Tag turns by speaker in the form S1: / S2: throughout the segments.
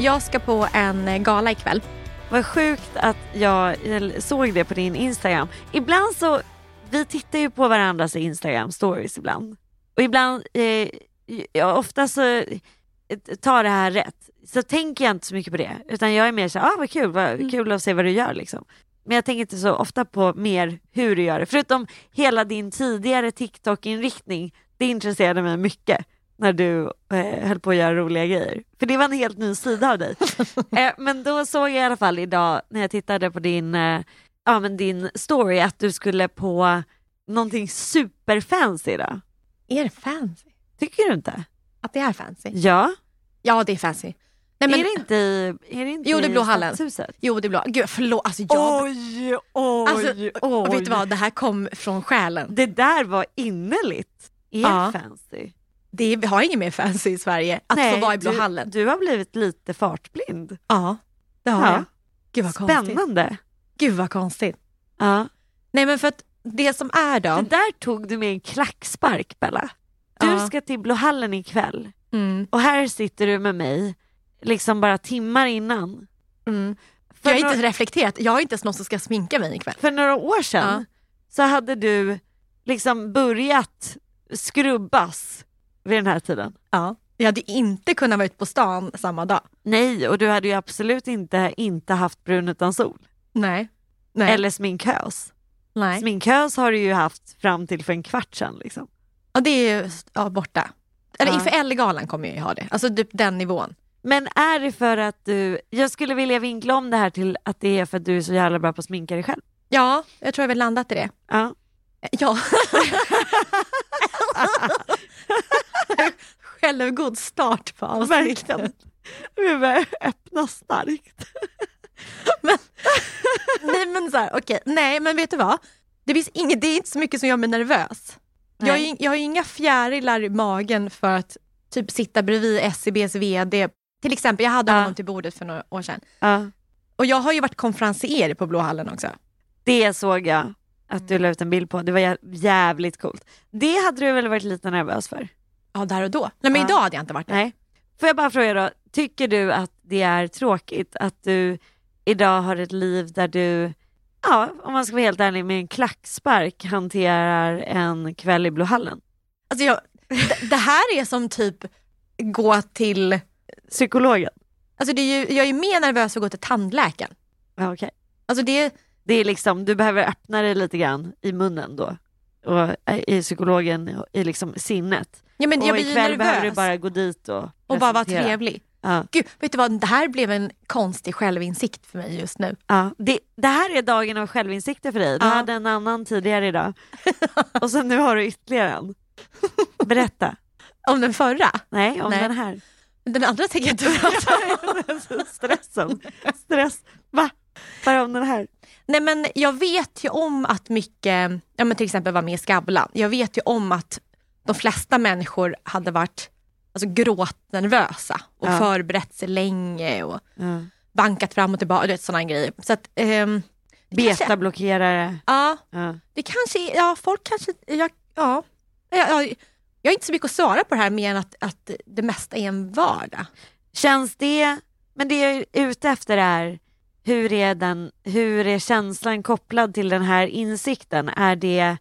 S1: Jag ska på en eh, gala ikväll.
S2: Vad sjukt att jag eh, såg det på din Instagram. Ibland så, vi tittar ju på varandras Instagram stories ibland. Och ibland, eh, ja, ofta så eh, tar det här rätt. Så tänker jag inte så mycket på det. Utan jag är mer så här, ah, vad kul, vad kul att se vad du gör liksom. Men jag tänker inte så ofta på mer hur du gör det. Förutom hela din tidigare TikTok-inriktning. Det intresserade mig mycket när du eh, höll på att göra roliga grejer. För det var en helt ny sida av dig. eh, men då såg jag i alla fall idag när jag tittade på din, eh, ja, men din story att du skulle på någonting superfancy idag.
S1: Är det fancy?
S2: Tycker du inte?
S1: Att det är fancy?
S2: Ja.
S1: Ja, det är fancy. Nej, men,
S2: är det inte i, är det inte
S1: Jo, det är
S2: i
S1: Blå hallen.
S2: Stadshuset?
S1: Jo, det är bra. Gud, förlåt. Alltså, jag...
S2: Oj, oj,
S1: alltså,
S2: oj.
S1: Vet du vad? Det här kom från själen.
S2: Det där var innerligt. Är
S1: Ja.
S2: fancy?
S1: Det är, vi har inget mer fancy i Sverige. Att få vara i Blå
S2: du,
S1: hallen.
S2: Du har blivit lite fartblind.
S1: Ja, det har
S2: Ja.
S1: jag. Gud vad konstigt.
S2: Spännande.
S1: Gud vad konstigt.
S2: Ja.
S1: Nej men för att det som är då.
S2: Det där tog du med en klackspark Bella. Du
S1: Ja.
S2: ska till Blå hallen ikväll
S1: Mm,
S2: och här sitter du med mig liksom bara timmar innan.
S1: mm.
S2: För,
S1: Jag har
S2: några,
S1: inte reflekterat. Jag har inte ens någon som ska sminka mig ikväll.
S2: för några år sedan
S1: Ja.
S2: så hade du liksom börjat skrubbas vid den här tiden.
S1: Ja. Jag hade ju inte kunnat vara ute på stan samma dag.
S2: Nej, och du hade ju absolut inte, inte haft brun utan sol.
S1: Nej. Nej.
S2: Eller sminkös.
S1: Nej.
S2: Sminkös har du ju haft fram till för en kvart sedan. Liksom.
S1: Ja, det är ju ja, borta. Eller
S2: Ja.
S1: inför Ellegalan kommer jag ju ha det. Alltså typ den nivån.
S2: Men är det för att du, jag skulle vilja vinkla om det här till att det är för att du är så jävla bra på att sminka dig själv.
S1: Ja, jag tror jag väl landat i det.
S2: Eh, Ja.
S1: Ja. Självgod start på avsnittet.
S2: Verkligen. Vi börjar öppna starkt.
S1: Nej men så här, okej. Nej men vet du vad? Det, finns inget, det är inte så mycket som gör mig nervös. Jag, har ju- jag har ju inga fjärilar i magen för att typ sitta bredvid SCBs VD. Till exempel, jag hade
S2: Ja.
S1: honom till bordet för några år sedan.
S2: Ja.
S1: Och jag har ju varit konferencier på Blå hallen också.
S2: Det såg jag att du la ut en bild på. Det var jä- jävligt coolt. Det hade du väl varit lite nervös för?
S1: Ja, där och då. Nej men
S2: Ja.
S1: idag hade jag inte varit det.
S2: Nej. Får jag bara fråga då, tycker du att det är tråkigt att du idag har ett liv där du, ja om man ska vara helt ärlig, med en klackspark hanterar en kväll i Blå hallen?
S1: Alltså jag, d- det här är som typ gå till,
S2: Psykologen?
S1: alltså det är ju, jag är mer nervös för att gå till tandläkaren.
S2: Ja, okej.
S1: Alltså det är,
S2: Det är liksom, du behöver öppna dig lite grann i munnen då. Och eh, i psykologen, i liksom sinnet.
S1: ja, men jag
S2: och
S1: blir ju
S2: ikväll behöver du
S1: nervös
S2: bara gå dit och
S1: och bara vara
S2: presentera.
S1: trevlig.
S2: Ja.
S1: Gud, vet du vad, det här blev en konstig självinsikt för mig just nu.
S2: Ja. Det, det här är dagen av självinsikter för dig. Du
S1: Ja.
S2: hade en annan tidigare idag. Och sen nu har du ytterligare en. Berätta.
S1: Om den förra.
S2: Nej, om
S1: Nej.
S2: den här.
S1: Den andra tänker jag inte prata om.
S2: Stressen. Stress. Va? Bara om den här.
S1: Nej men jag vet ju om att mycket, ja men till exempel var med i Skavlan. Jag vet ju om att de flesta människor hade varit alltså, gråtnervösa och
S2: Ja.
S1: förberett sig länge och
S2: Ja.
S1: bankat fram och tillbaka, du vet sådana grejer. Så att, ehm,
S2: Betablockerare.
S1: ja,
S2: Ja.
S1: det kanske, är- ja folk kanske, jag, ja. Jag, jag, jag har inte så mycket att svara på det här mer än att, att det mesta är en vardag.
S2: Känns det, men det jag är ute efter är hur är, den, hur är känslan kopplad till den här insikten? Är, det,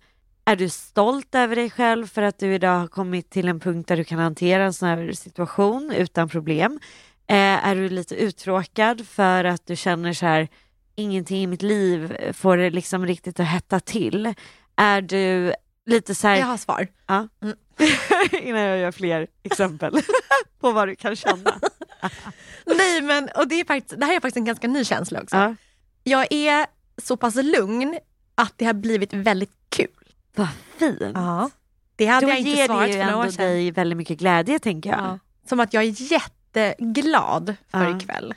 S2: är du stolt över dig själv för att du idag har kommit till en punkt där du kan hantera en sån här situation utan problem? Eh, är du lite uttråkad för att du känner så här, ingenting i mitt liv får det liksom riktigt att hetta till? Är du lite så här,
S1: Jag har svar.
S2: Ja.
S1: Mm.
S2: Innan jag gör fler exempel på vad du kan känna.
S1: Nej men, och det, är faktiskt, det här är faktiskt en ganska ny känsla också.
S2: Ja.
S1: Jag är så pass lugn att det har blivit väldigt kul.
S2: Vad fint.
S1: Ja. Det hade
S2: Då
S1: jag inte
S2: ger det
S1: svarat
S2: ju
S1: för några år
S2: ändå
S1: sedan.
S2: dig väldigt mycket glädje tänker jag.
S1: Ja. Som att jag är jätteglad för
S2: Ja.
S1: ikväll.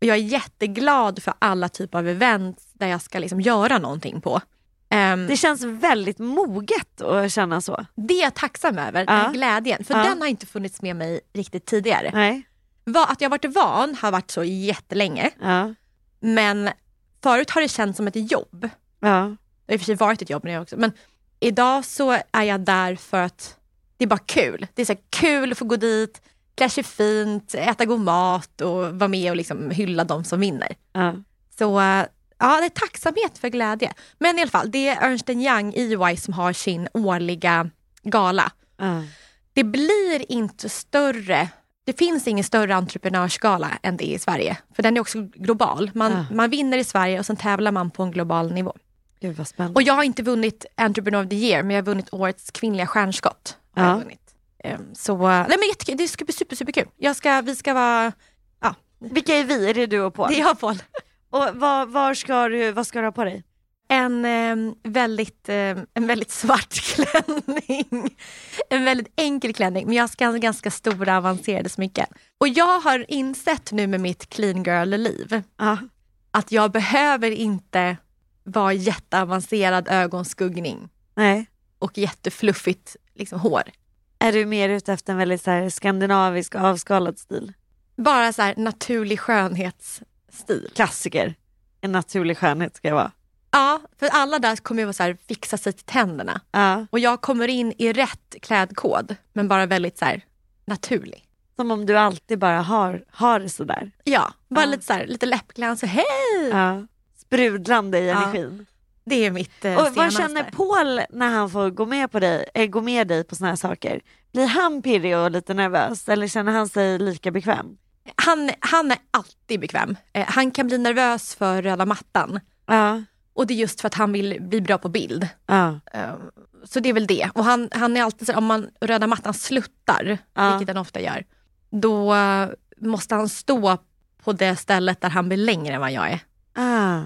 S1: Och jag är jätteglad för alla typer av event där jag ska liksom göra någonting på. Ehm,
S2: Det känns väldigt moget att känna så.
S1: det är jag tacksam över,
S2: Ja.
S1: den här glädjen. För
S2: Ja.
S1: den har inte funnits med mig riktigt tidigare.
S2: Nej.
S1: Va- Att jag varit van har varit så jättelänge.
S2: Ja.
S1: Men förut har det känts som ett jobb.
S2: Ja.
S1: Det har i och för sig varit ett jobb nu också. Men idag så är jag där för att det är bara kul. Det är så här kul att få gå dit, klä sig fint, äta god mat och vara med och liksom hylla de som vinner.
S2: Ja.
S1: Så eh, ja, det är tacksamhet för glädje. Men i alla fall, det är Ernst Young, EY, som har sin årliga gala.
S2: Ja.
S1: Det blir inte större, det finns ingen större entreprenörsgala än det är i Sverige. För den är också global. Man,
S2: Ah.
S1: man vinner i Sverige och sen tävlar man på en global nivå.
S2: Gud vad spännande.
S1: Och jag har inte vunnit Entrepreneur of the Year, men jag har vunnit årets kvinnliga stjärnskott. Har
S2: Ja.
S1: jag vunnit. Ehm, Så, nej men jättekul, det ska bli super, superkul. Jag ska, vi ska vara,
S2: Vilka är vi? Är det du och Paul?
S1: det är jag Paul,
S2: Och var, var ska du, vad ska du ha på dig?
S1: en, ehm, väldigt, ehm, en väldigt svart klänning. En väldigt enkel klänning, men jag ska ha ganska stora avancerade smycken. Och jag har insett nu med mitt clean girl-liv
S2: Ja.
S1: att jag behöver inte vara jätteavancerad ögonskuggning
S2: Nej.
S1: och jättefluffigt liksom, hår.
S2: Är du mer ute efter en väldigt så här, skandinavisk och avskalad stil?
S1: bara så här naturlig skönhetsstil.
S2: Klassiker. En naturlig skönhet ska jag vara.
S1: Ja, för alla där kommer ju vara så här, fixa sig till tänderna.
S2: Ja.
S1: Och jag kommer in i rätt klädkod, men bara väldigt så här, naturlig.
S2: Som om du alltid bara har, har det sådär.
S1: Ja, bara
S2: Ja.
S1: lite så här, lite läppglans och hej!
S2: Ja. Sprudlande i
S1: Ja.
S2: energin.
S1: Det är mitt eh,
S2: Och vad
S1: senaste.
S2: känner Paul när han får gå med, på dig, eh, gå med dig på såna här saker? Blir han pirrig och lite nervös eller känner han sig lika bekväm?
S1: han, han är alltid bekväm. Eh, han kan bli nervös för röda mattan.
S2: Ja.
S1: Och det är just för att han vill bli bra på bild.
S2: ja.
S1: Eh, Så det är väl det. Och han, han är alltid så här, om man röda mattan sluttar,
S2: Ja.
S1: vilket den ofta gör, då eh, måste han stå på det stället där han blir längre än vad jag är.
S2: Ah.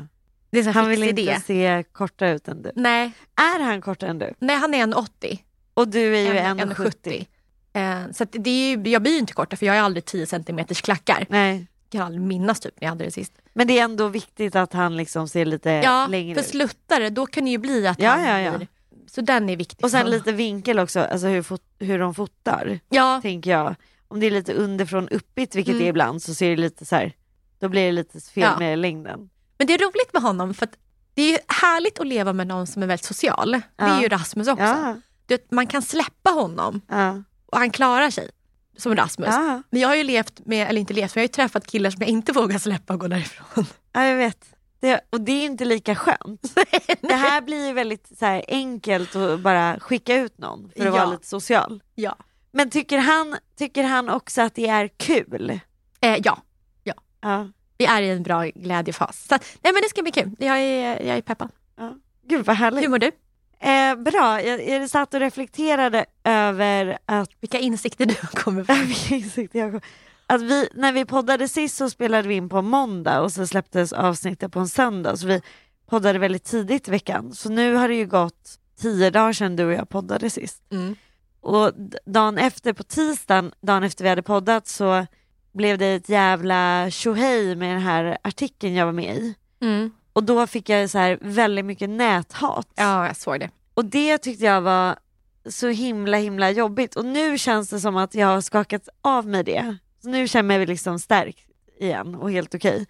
S1: Det är så här
S2: Han
S1: fix
S2: vill inte
S1: idé.
S2: se kortare ut än du.
S1: Nej,
S2: Är han kortare än du?
S1: nej, han är en 80.
S2: Och du är ju
S1: en, en
S2: 1,70.
S1: 70. Eh, Så att det är ju, jag blir ju inte kortare för jag är aldrig 10 cm klackar.
S2: Nej.
S1: Jag kan aldrig minnas typ när jag hade det sist.
S2: Men det är ändå viktigt att han liksom ser lite
S1: Ja,
S2: längre
S1: för
S2: ut.
S1: sluttare då kan det ju bli att
S2: Ja,
S1: han
S2: ja, ja.
S1: blir... Så den är viktig.
S2: Och sen lite vinkel också, alltså hur, fot- hur de fotar,
S1: Ja,
S2: tänker jag. Om det är lite underifrån uppigt, vilket
S1: Mm.
S2: det är ibland, så ser det lite så här, då blir det lite fel
S1: Ja.
S2: med längden.
S1: Men det är roligt med honom för att det är ju härligt att leva med någon som är väldigt social. Det är
S2: Ja.
S1: ju Rasmus också.
S2: Ja.
S1: Du vet, man kan släppa honom
S2: Ja.
S1: och han klarar sig som Rasmus.
S2: Ja.
S1: Men jag har ju levt med, eller inte levt, men jag har ju träffat killar som jag inte vågar släppa och gå därifrån.
S2: Ja, jag vet. Det, och det är inte lika skönt. Det här blir ju väldigt så här, enkelt att bara skicka ut någon för att vara
S1: Ja.
S2: lite social.
S1: Ja.
S2: Men tycker han, tycker han också att det är kul?
S1: Eh, ja,
S2: Ja.
S1: vi är i en bra glädjefas. Så, att- nej men det ska bli kul. Jag är, jag är peppad.
S2: Gud vad
S1: Hur
S2: härligt.
S1: mår du?
S2: Eh, bra, jag, jag satt och reflekterade över att
S1: Vilka insikter du har kommit fram till?
S2: Vilken insikt jag kom. Att vi, när vi poddade sist så spelade vi in på måndag och så släpptes avsnittet på en söndag. Så vi poddade väldigt tidigt i veckan. Så nu har det ju gått tio dagar sedan du och jag poddade sist.
S1: Mm.
S2: Och d- dagen efter på tisdagen, dagen efter vi hade poddat så blev det ett jävla tjohej med den här artikeln jag var med i.
S1: Mm.
S2: Och då fick jag så här väldigt mycket näthat.
S1: Ja, jag såg det.
S2: Och det tyckte jag var så himla himla jobbigt och nu känns det som att jag har skakat av mig det. Så nu känner jag mig liksom stärkt igen och helt okej.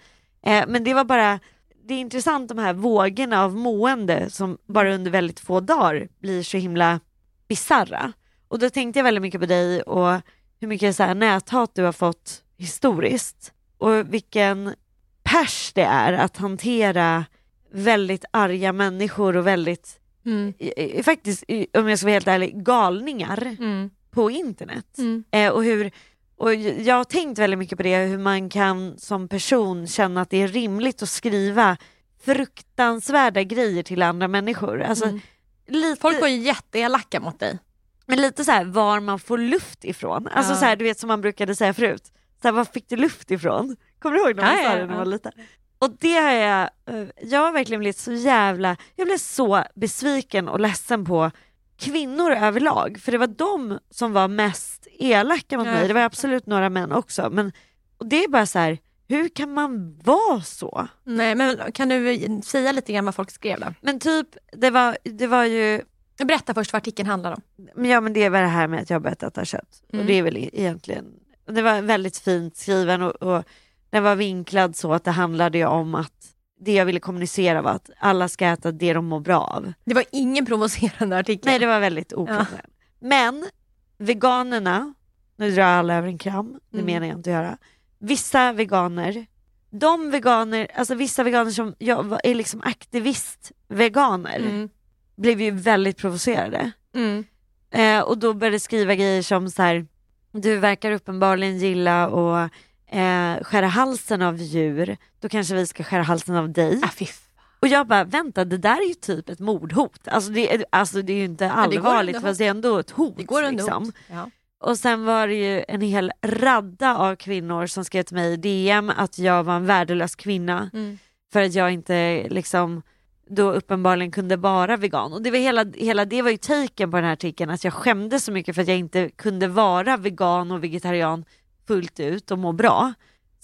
S2: Eh, men det var bara, det är intressant de här vågorna av mående som bara under väldigt få dagar blir så himla bizarra. Och då tänkte jag väldigt mycket på dig och hur mycket så här näthat du har fått historiskt och vilken pers det är att hantera väldigt arga människor och väldigt
S1: Mm.
S2: i- i- faktiskt, i- om jag ska vara helt ärlig, galningar
S1: Mm.
S2: på internet.
S1: Mm.
S2: Eh, och hur, och j- jag har tänkt väldigt mycket på det, hur man kan som person känna att det är rimligt att skriva fruktansvärda grejer till andra människor. Alltså,
S1: Mm.
S2: lite,
S1: Folk var ju jätteelaka mot dig.
S2: men lite så här var man får luft ifrån. Alltså
S1: Ja.
S2: så här, du vet som man brukade säga förut. Så här, var fick du luft ifrån? Kommer du ihåg när
S1: Ja,
S2: man sa
S1: ja,
S2: det när man
S1: ja.
S2: var liten? Och det har jag, eh, jag har verkligen blivit så jävla, jag blev så besviken och ledsen på kvinnor överlag. För det var de som var mest elaka mot
S1: Ja,
S2: mig.
S1: jag
S2: Det var absolut några män också. Men, och det är bara så här, hur kan man vara så?
S1: Nej, men kan du säga lite grann vad folk skrev då?
S2: Men typ, det var, det var ju
S1: Berätta först vad artikeln handlar om.
S2: Men ja men det är väl det här med att jag har börjat äta kött.
S1: Mm.
S2: Och det är väl e- egentligen, och det var väldigt fint skriven och, och den var vinklad så att det handlade ju om att det jag ville kommunicera var att alla ska äta det de mår bra av.
S1: Det var ingen provocerande artikel.
S2: Nej det var väldigt oprovocerat. Men veganerna, nu drar jag alla över en kram, det
S1: Mm.
S2: menar jag inte att göra. Vissa veganer, de veganer, alltså vissa veganer som jag var- är liksom aktivist-veganer
S1: Mm.
S2: blev ju väldigt provocerade.
S1: Mm.
S2: Eh, och då började jag skriva grejer som så här, du verkar uppenbarligen gilla att eh, skära halsen av djur, då kanske vi ska skära halsen av dig.
S1: Ah, fy fan.
S2: Och jag bara, vänta det där är ju typ ett mordhot. Alltså det, är- alltså, det är ju inte
S1: det går
S2: allvarligt
S1: under
S2: fast det är ändå ett hot.
S1: Det går ändå.
S2: liksom.
S1: Liksom. Ja.
S2: Och sen var det ju en hel radda av kvinnor som skrev till mig i DM att jag var en värdelös kvinna
S1: Mm.
S2: för att jag inte liksom då uppenbarligen kunde vara vegan. Och det var hela, hela det var ju taken på den här artikeln att jag skämdes så mycket för att jag inte kunde vara vegan och vegetarian fullt ut och må bra.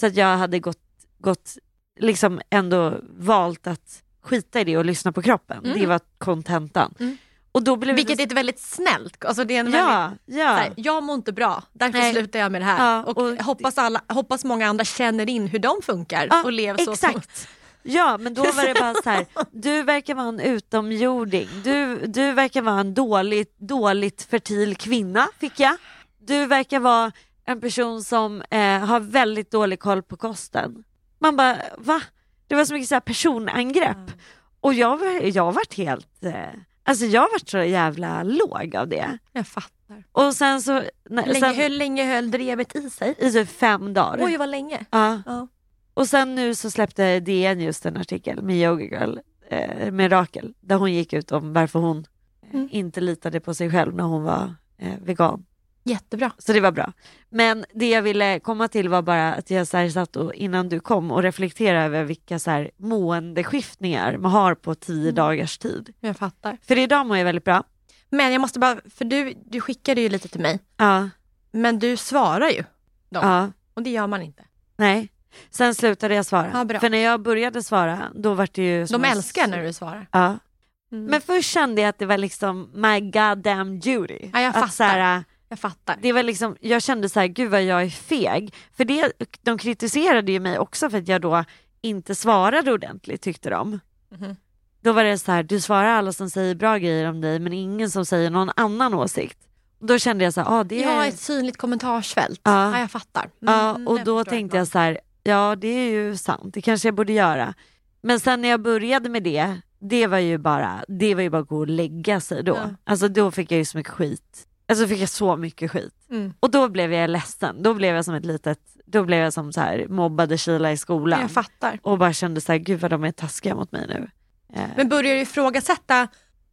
S2: Så att jag hade gått, gått liksom ändå valt att skita i det och lyssna på kroppen.
S1: Mm.
S2: Det var kontentan.
S1: Mm.
S2: Och då blev
S1: Vilket är ett väldigt snällt, alltså det är en
S2: det...
S1: väldigt,
S2: Ja, ja.
S1: så här, jag mår inte bra, därför
S2: Nej.
S1: slutar jag med det här.
S2: Ja,
S1: och
S2: och-
S1: hoppas, alla, hoppas många andra känner in hur de funkar
S2: Ja,
S1: och lever så som-
S2: exakt. Ja men då var det bara så här. du verkar vara en utomjording, du, du verkar vara en dåligt, dåligt fertil kvinna fick jag. Du verkar vara en person som eh, har väldigt dålig koll på kosten. Man bara va? Det var så mycket så här personangrepp. Och jag, var- jag har varit helt, eh, alltså jag har varit så jävla låg av det.
S1: Jag fattar.
S2: Och sen så, när,
S1: Hur länge, hur
S2: sen,
S1: länge höll drevet i sig?
S2: i typ fem dagar.
S1: Oj vad länge.
S2: Ja.
S1: Ja.
S2: Och sen nu så släppte DN just en artikel med Yoga Girl, eh, med Rakel, där hon gick ut om varför hon eh,
S1: Mm.
S2: inte litade på sig själv när hon var eh, vegan.
S1: Jättebra.
S2: Så det var bra. Men det jag ville komma till var bara att jag så här satt och, innan du kom och reflekterade över vilka så här måendeskiftningar man har på tio
S1: Mm.
S2: dagars tid.
S1: Jag fattar.
S2: För idag mår jag väldigt bra.
S1: Men jag måste bara, för du, du skickade ju lite till mig,
S2: Ja,
S1: men du svarar ju.
S2: ja,
S1: Och det gör man inte.
S2: nej. Sen slutade jag svara.
S1: Ja, bra.
S2: För när jag började svara, då var det ju... som
S1: De
S2: en-
S1: älskar när du svarar.
S2: Ja.
S1: Mm.
S2: Men först kände jag att det var liksom my goddamn duty.
S1: Ja, jag
S2: att
S1: fattar.
S2: så här, äh,
S1: Jag fattar.
S2: det var liksom, jag kände så här, gud vad jag är feg. För det, de kritiserade ju mig också för att jag då inte svarade ordentligt tyckte de.
S1: Mhm.
S2: Då var det så här, du svarar alla som säger bra grejer om dig men ingen som säger någon annan åsikt. Då kände jag så här, ah, det
S1: Jag
S2: är...
S1: har ett synligt kommentarsfält.
S2: Ja.
S1: Ja, jag fattar.
S2: Ja,
S1: Mm,
S2: och
S1: jag
S2: då
S1: förstår.
S2: tänkte jag så här, ja det är ju sant, det kanske jag borde göra. Men sen när jag började med det, det var ju bara, det var ju bara att gå och lägga sig då.
S1: Ja.
S2: Alltså då fick jag ju så mycket skit. Alltså fick jag så mycket skit.
S1: Mm.
S2: Och då blev jag ledsen, då blev jag som ett litet, då blev jag som så här mobbade Kila i
S1: Ja,
S2: skolan.
S1: Jag fattar.
S2: Och bara kände så här, gud vad de är taskiga mot mig nu. Eh,
S1: Men börjar du ifrågasätta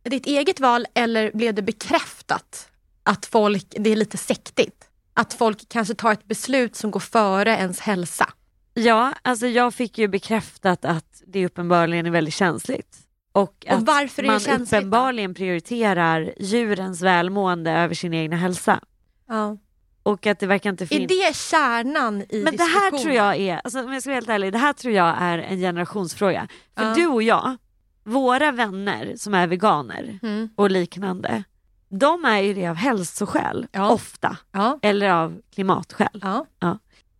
S1: ditt eget val eller blev det bekräftat att folk, det är lite sektigt? Att folk kanske tar ett beslut som går före ens hälsa.
S2: ja, alltså jag fick ju bekräftat att det uppenbarligen är väldigt känsligt. Och att
S1: och varför är det
S2: man
S1: känsligt? då?
S2: uppenbarligen prioriterar djurens välmående över sin egna hälsa.
S1: Ja.
S2: Och att det verkar inte
S1: Är
S2: finnas...
S1: det kärnan i
S2: Men det här
S1: diskussionen?
S2: tror jag är, alltså, om jag ska vara helt ärlig, det här tror jag är en generationsfråga. För
S1: Ja.
S2: du och jag, våra vänner som är veganer
S1: Mm.
S2: och liknande, de är ju det av hälsoskäl,
S1: Ja.
S2: ofta,
S1: Ja.
S2: eller av klimatskäl.
S1: ja.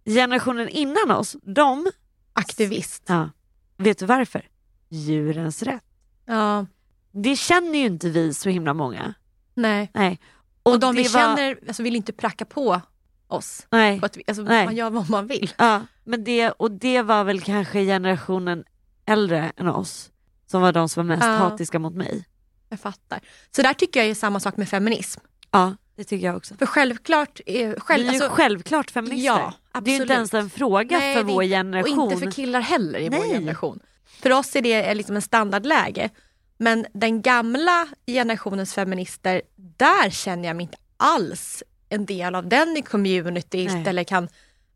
S2: Generationen innan oss, de,
S1: Aktivist.
S2: ja, vet du varför? Djurens rätt.
S1: Ja.
S2: Det känner ju inte vi så himla många.
S1: Nej.
S2: Nej.
S1: Och de vi
S2: det var-
S1: känner alltså, vill inte pracka på oss.
S2: Nej.
S1: På att vi, alltså,
S2: Nej.
S1: Man gör vad man vill.
S2: Ja, men det, och det var väl kanske generationen äldre än oss som var de som var mest
S1: Ja.
S2: hatiska mot mig.
S1: Jag fattar. Så där tycker jag är samma sak med feminism.
S2: Ja, det tycker jag också.
S1: För självklart... Är, själv,
S2: vi är ju
S1: alltså,
S2: självklart feminister.
S1: ja,
S2: det är ju inte
S1: absolut.
S2: ens en fråga
S1: Nej,
S2: för
S1: det är
S2: vår
S1: inte-
S2: generation.
S1: Och inte för killar heller i vår
S2: Nej.
S1: generation. För oss är det liksom en standardläge. Men den gamla generationens feminister, där känner jag mig inte alls en del av den i communityt
S2: Nej.
S1: eller kan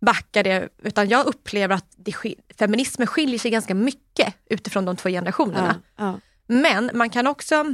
S1: backa det. Utan jag upplever att det, skil- feminismen skiljer sig ganska mycket utifrån de två generationerna.
S2: ja, ja.
S1: Men man kan också,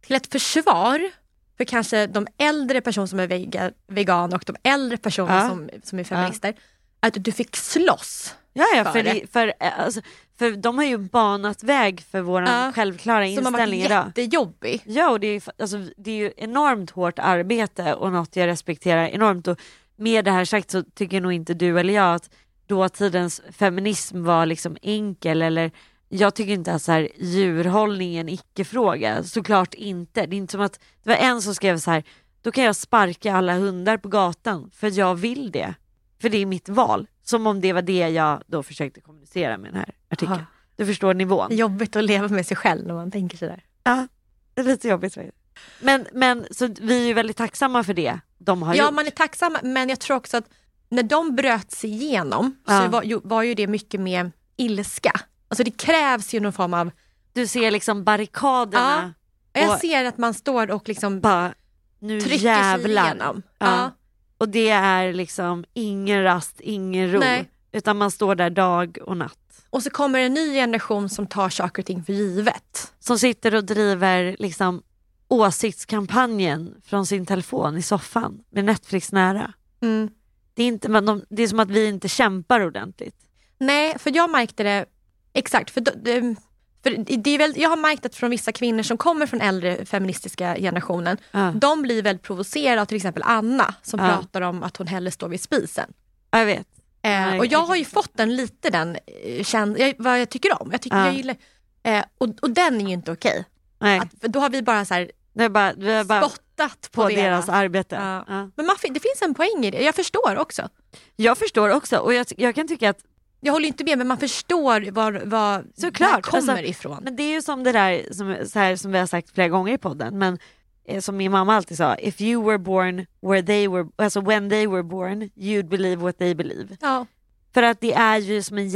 S1: till ett försvar för kanske de äldre personer som är vega, vegan och de äldre personer
S2: Ja.
S1: som, som är feminister, att du fick slåss.
S2: Ja, ja,
S1: för
S2: för,
S1: det.
S2: det, för, eh, alltså, för de har ju banat väg för vår
S1: Ja,
S2: självklara
S1: Som har varit
S2: inställning idag.
S1: jättejobbig.
S2: Ja, och det är, ju fa- alltså, det är ju enormt hårt arbete och något jag respekterar enormt. Och med det här sagt så tycker nog inte du eller jag att dåtidens feminism var liksom enkel eller jag tycker inte att så här, djurhållning är en icke-fråga. Såklart inte. Det är inte som att det var en som skrev så här, då kan jag sparka alla hundar på gatan för jag vill det. För det är mitt val. Som om det var det jag då försökte kommunicera med den här artikeln.
S1: Ja.
S2: Du förstår nivån.
S1: Jobbigt att leva med sig själv när man tänker sådär.
S2: Ja, det är lite jobbigt faktiskt. Men, men så vi är ju väldigt tacksamma för det de har
S1: Ja,
S2: gjort.
S1: man är tacksam, men jag tror också att när de bröt sig igenom
S2: Ja.
S1: så var ju, var ju det mycket mer ilska. Alltså det krävs ju någon form av...
S2: Du ser liksom barrikaderna
S1: Jag
S2: Och-
S1: ser att man står och liksom
S2: bara, nu
S1: trycker sig
S2: jävlar.
S1: igenom.
S2: Ja.
S1: Ja.
S2: Och det är liksom ingen rast, ingen ro.
S1: Nej.
S2: Utan man står där dag och natt.
S1: Och så kommer en ny generation som tar saker och ting för givet.
S2: Som sitter och driver liksom åsiktskampanjen från sin telefon i soffan med Netflix nära.
S1: Mm.
S2: Det är, inte, men de, det är som att vi inte kämpar ordentligt.
S1: Nej, för jag märkte det exakt. För, då- det- för det är väl, jag har märkt att från vissa kvinnor som kommer från äldre feministiska generationen,
S2: Ja.
S1: de blir väldigt provocerade av till exempel Anna som
S2: Ja.
S1: pratar om att hon hellre står vid spisen.
S2: Ja, jag vet.
S1: Eh,
S2: Ja,
S1: och jag
S2: exakt.
S1: har ju fått den lite den eh, känd, jag, vad jag tycker om. Jag tycker
S2: Ja.
S1: jag gillar, eh, och, och den är ju inte okej.
S2: Nej,
S1: Att- för Då har vi bara, så här,
S2: det är bara, vi har bara
S1: spottat på,
S2: på deras arbete.
S1: Ja.
S2: Ja.
S1: Men man, fin- det finns en poäng i det, jag förstår också.
S2: Jag förstår också och jag, ty- jag kan tycka att
S1: Jag håller inte med men man förstår var, var
S2: Såklart,
S1: det här kommer
S2: alltså,
S1: ifrån.
S2: men det är ju som det där som, så här, som vi har sagt flera gånger i podden men eh, som min mamma alltid sa, if you were born where they were, alltså when they were born you'd believe what they believe.
S1: Ja,
S2: För att det är ju som en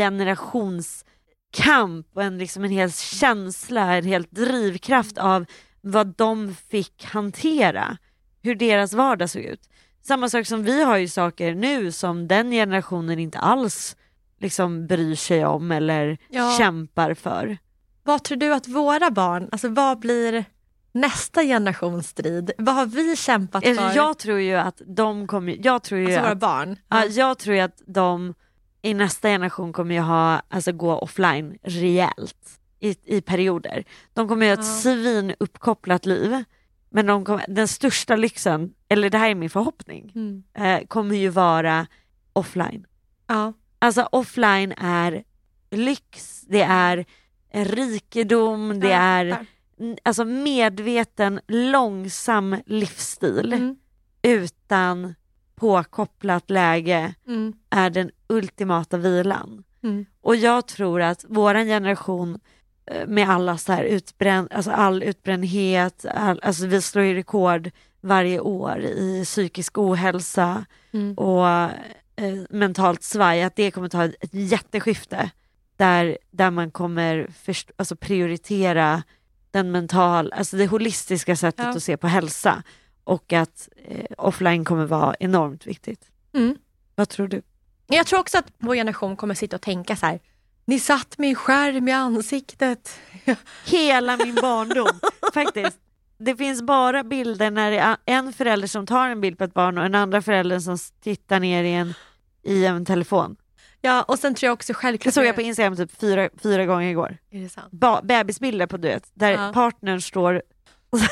S2: generationskamp och en, liksom en hel känsla, en hel drivkraft av vad de fick hantera, hur deras vardag såg ut. Samma sak som vi har ju saker nu som den generationen inte alls liksom bryr sig om eller
S1: Ja.
S2: kämpar för.
S1: vad tror du att våra barn, alltså vad blir nästa generations strid? Vad har vi kämpat för?
S2: Alltså, Jag tror ju att de kommer, jag tror ju
S1: alltså våra
S2: att,
S1: barn.
S2: ja, jag tror ju att de i nästa generation kommer ju ha, alltså gå offline rejält i, i perioder. De kommer ju ha ett
S1: Ja.
S2: svin uppkopplat liv men de kommer, den största lyxen, eller det här är min förhoppning,
S1: Mm.
S2: eh, kommer ju vara offline.
S1: Ja.
S2: Alltså offline är lyx, det är rikedom, det
S1: Ja,
S2: är
S1: där.
S2: n- alltså medveten långsam livsstil
S1: Mm.
S2: utan påkopplat läge
S1: Mm.
S2: är den ultimata vilan.
S1: Mm.
S2: Och jag tror att våran generation eh, med alla så här utbrän, alltså all utbrändhet, all, alltså vi slår ju rekord varje år i psykisk ohälsa,
S1: Mm.
S2: och eh, mentalt svaj, att det kommer ta ett jätteskifte där, där man kommer först, alltså prioritera den mental, alltså det holistiska sättet
S1: Ja.
S2: att se på hälsa och att eh, offline kommer vara enormt viktigt.
S1: Mm.
S2: Vad tror du?
S1: Men Jag tror också att vår generation kommer sitta och tänka så här, ni satt min skärm i ansiktet.
S2: Hela min barndom faktiskt. Det finns bara bilder när det är en förälder som tar en bild på ett barn och den andra föräldern som tittar ner i en, i en telefon.
S1: Ja, och sen tror jag också
S2: Det
S1: självklart...
S2: såg jag på Instagram typ fyra, fyra gånger igår.
S1: Är det sant?
S2: ba- bebisbilder på du vet, där
S1: Ja.
S2: partnern står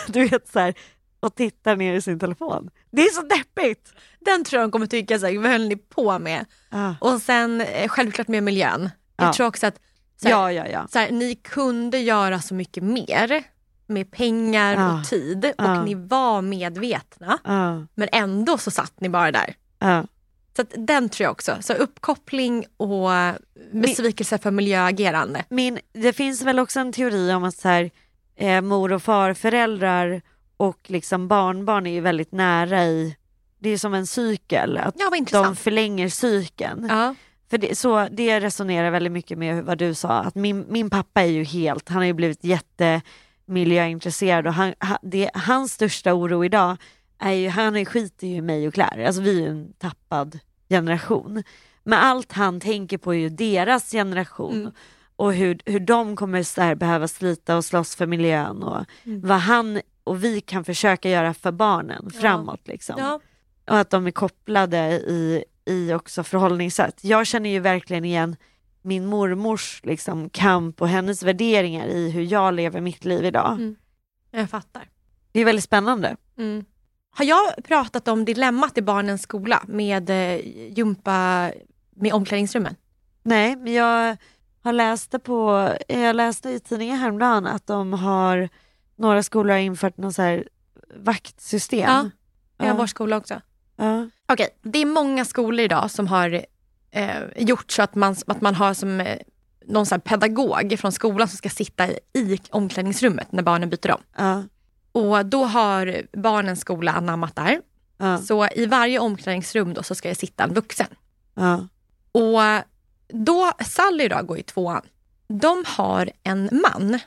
S2: du vet så här, och tittar ner i sin telefon. Det är så deppigt!
S1: Den tror jag de kommer tycka, så här, vad höll ni på med?
S2: Ah.
S1: Och sen eh, självklart med miljön.
S2: Ja.
S1: Jag tror också att så här,
S2: Ja, ja, ja.
S1: så här, ni kunde göra så mycket mer med pengar
S2: Ja.
S1: och tid och
S2: Ja.
S1: ni var medvetna
S2: Ah.
S1: men ändå så satt ni bara där.
S2: Ah.
S1: Så att den tror jag också. Så uppkoppling och besvikelse för miljöagerande.
S2: min, det finns väl också en teori om att så här, eh, mor och farföräldrar och liksom barnbarn är ju väldigt nära i, det är som en cykel, att
S1: Ja vad
S2: de
S1: intressant.
S2: förlänger cykeln.
S1: Ja.
S2: För det, så, det resonerar väldigt mycket med vad du sa, att min, min pappa är ju helt, han har ju blivit jättemiljöintresserad och han, ha, det, hans största oro idag är ju, han är- skiter ju i mig och Claire, alltså vi är ju en tappad generation. Men allt han tänker på är ju deras generation
S1: Mm.
S2: och hur, hur de kommer så här behöva slita och slåss för miljön och vad han och vi kan försöka göra för barnen
S1: Mm. Ja.
S2: framåt liksom.
S1: Ja.
S2: Och att de är kopplade i, i också förhållningssätt. Jag känner ju verkligen igen min mormors liksom, kamp och hennes värderingar i hur jag lever mitt liv idag.
S1: Mm. Jag fattar.
S2: Det är väldigt spännande.
S1: Mm. Har jag pratat om dilemmat i barnens skola med eh, jumpa med omklädningsrummen?
S2: Nej, men jag har läst det på, jag läste i tidningen häromdagen att de har, några skolor har infört något så här vaktsystem.
S1: Ja, Det har
S2: Ja.
S1: vår skola också.
S2: Ja.
S1: Okej, det är många skolor idag som har eh, gjort så att man, att man har som eh, någon sån här pedagog från skolan som ska sitta i, i omklädningsrummet när barnen byter om.
S2: Ja.
S1: Och då har barnens skola anammat där.
S2: Ja.
S1: Så i varje omklädningsrum då så ska det sitta en vuxen.
S2: Ja.
S1: Och då, Sally då går i tvåan. De har en man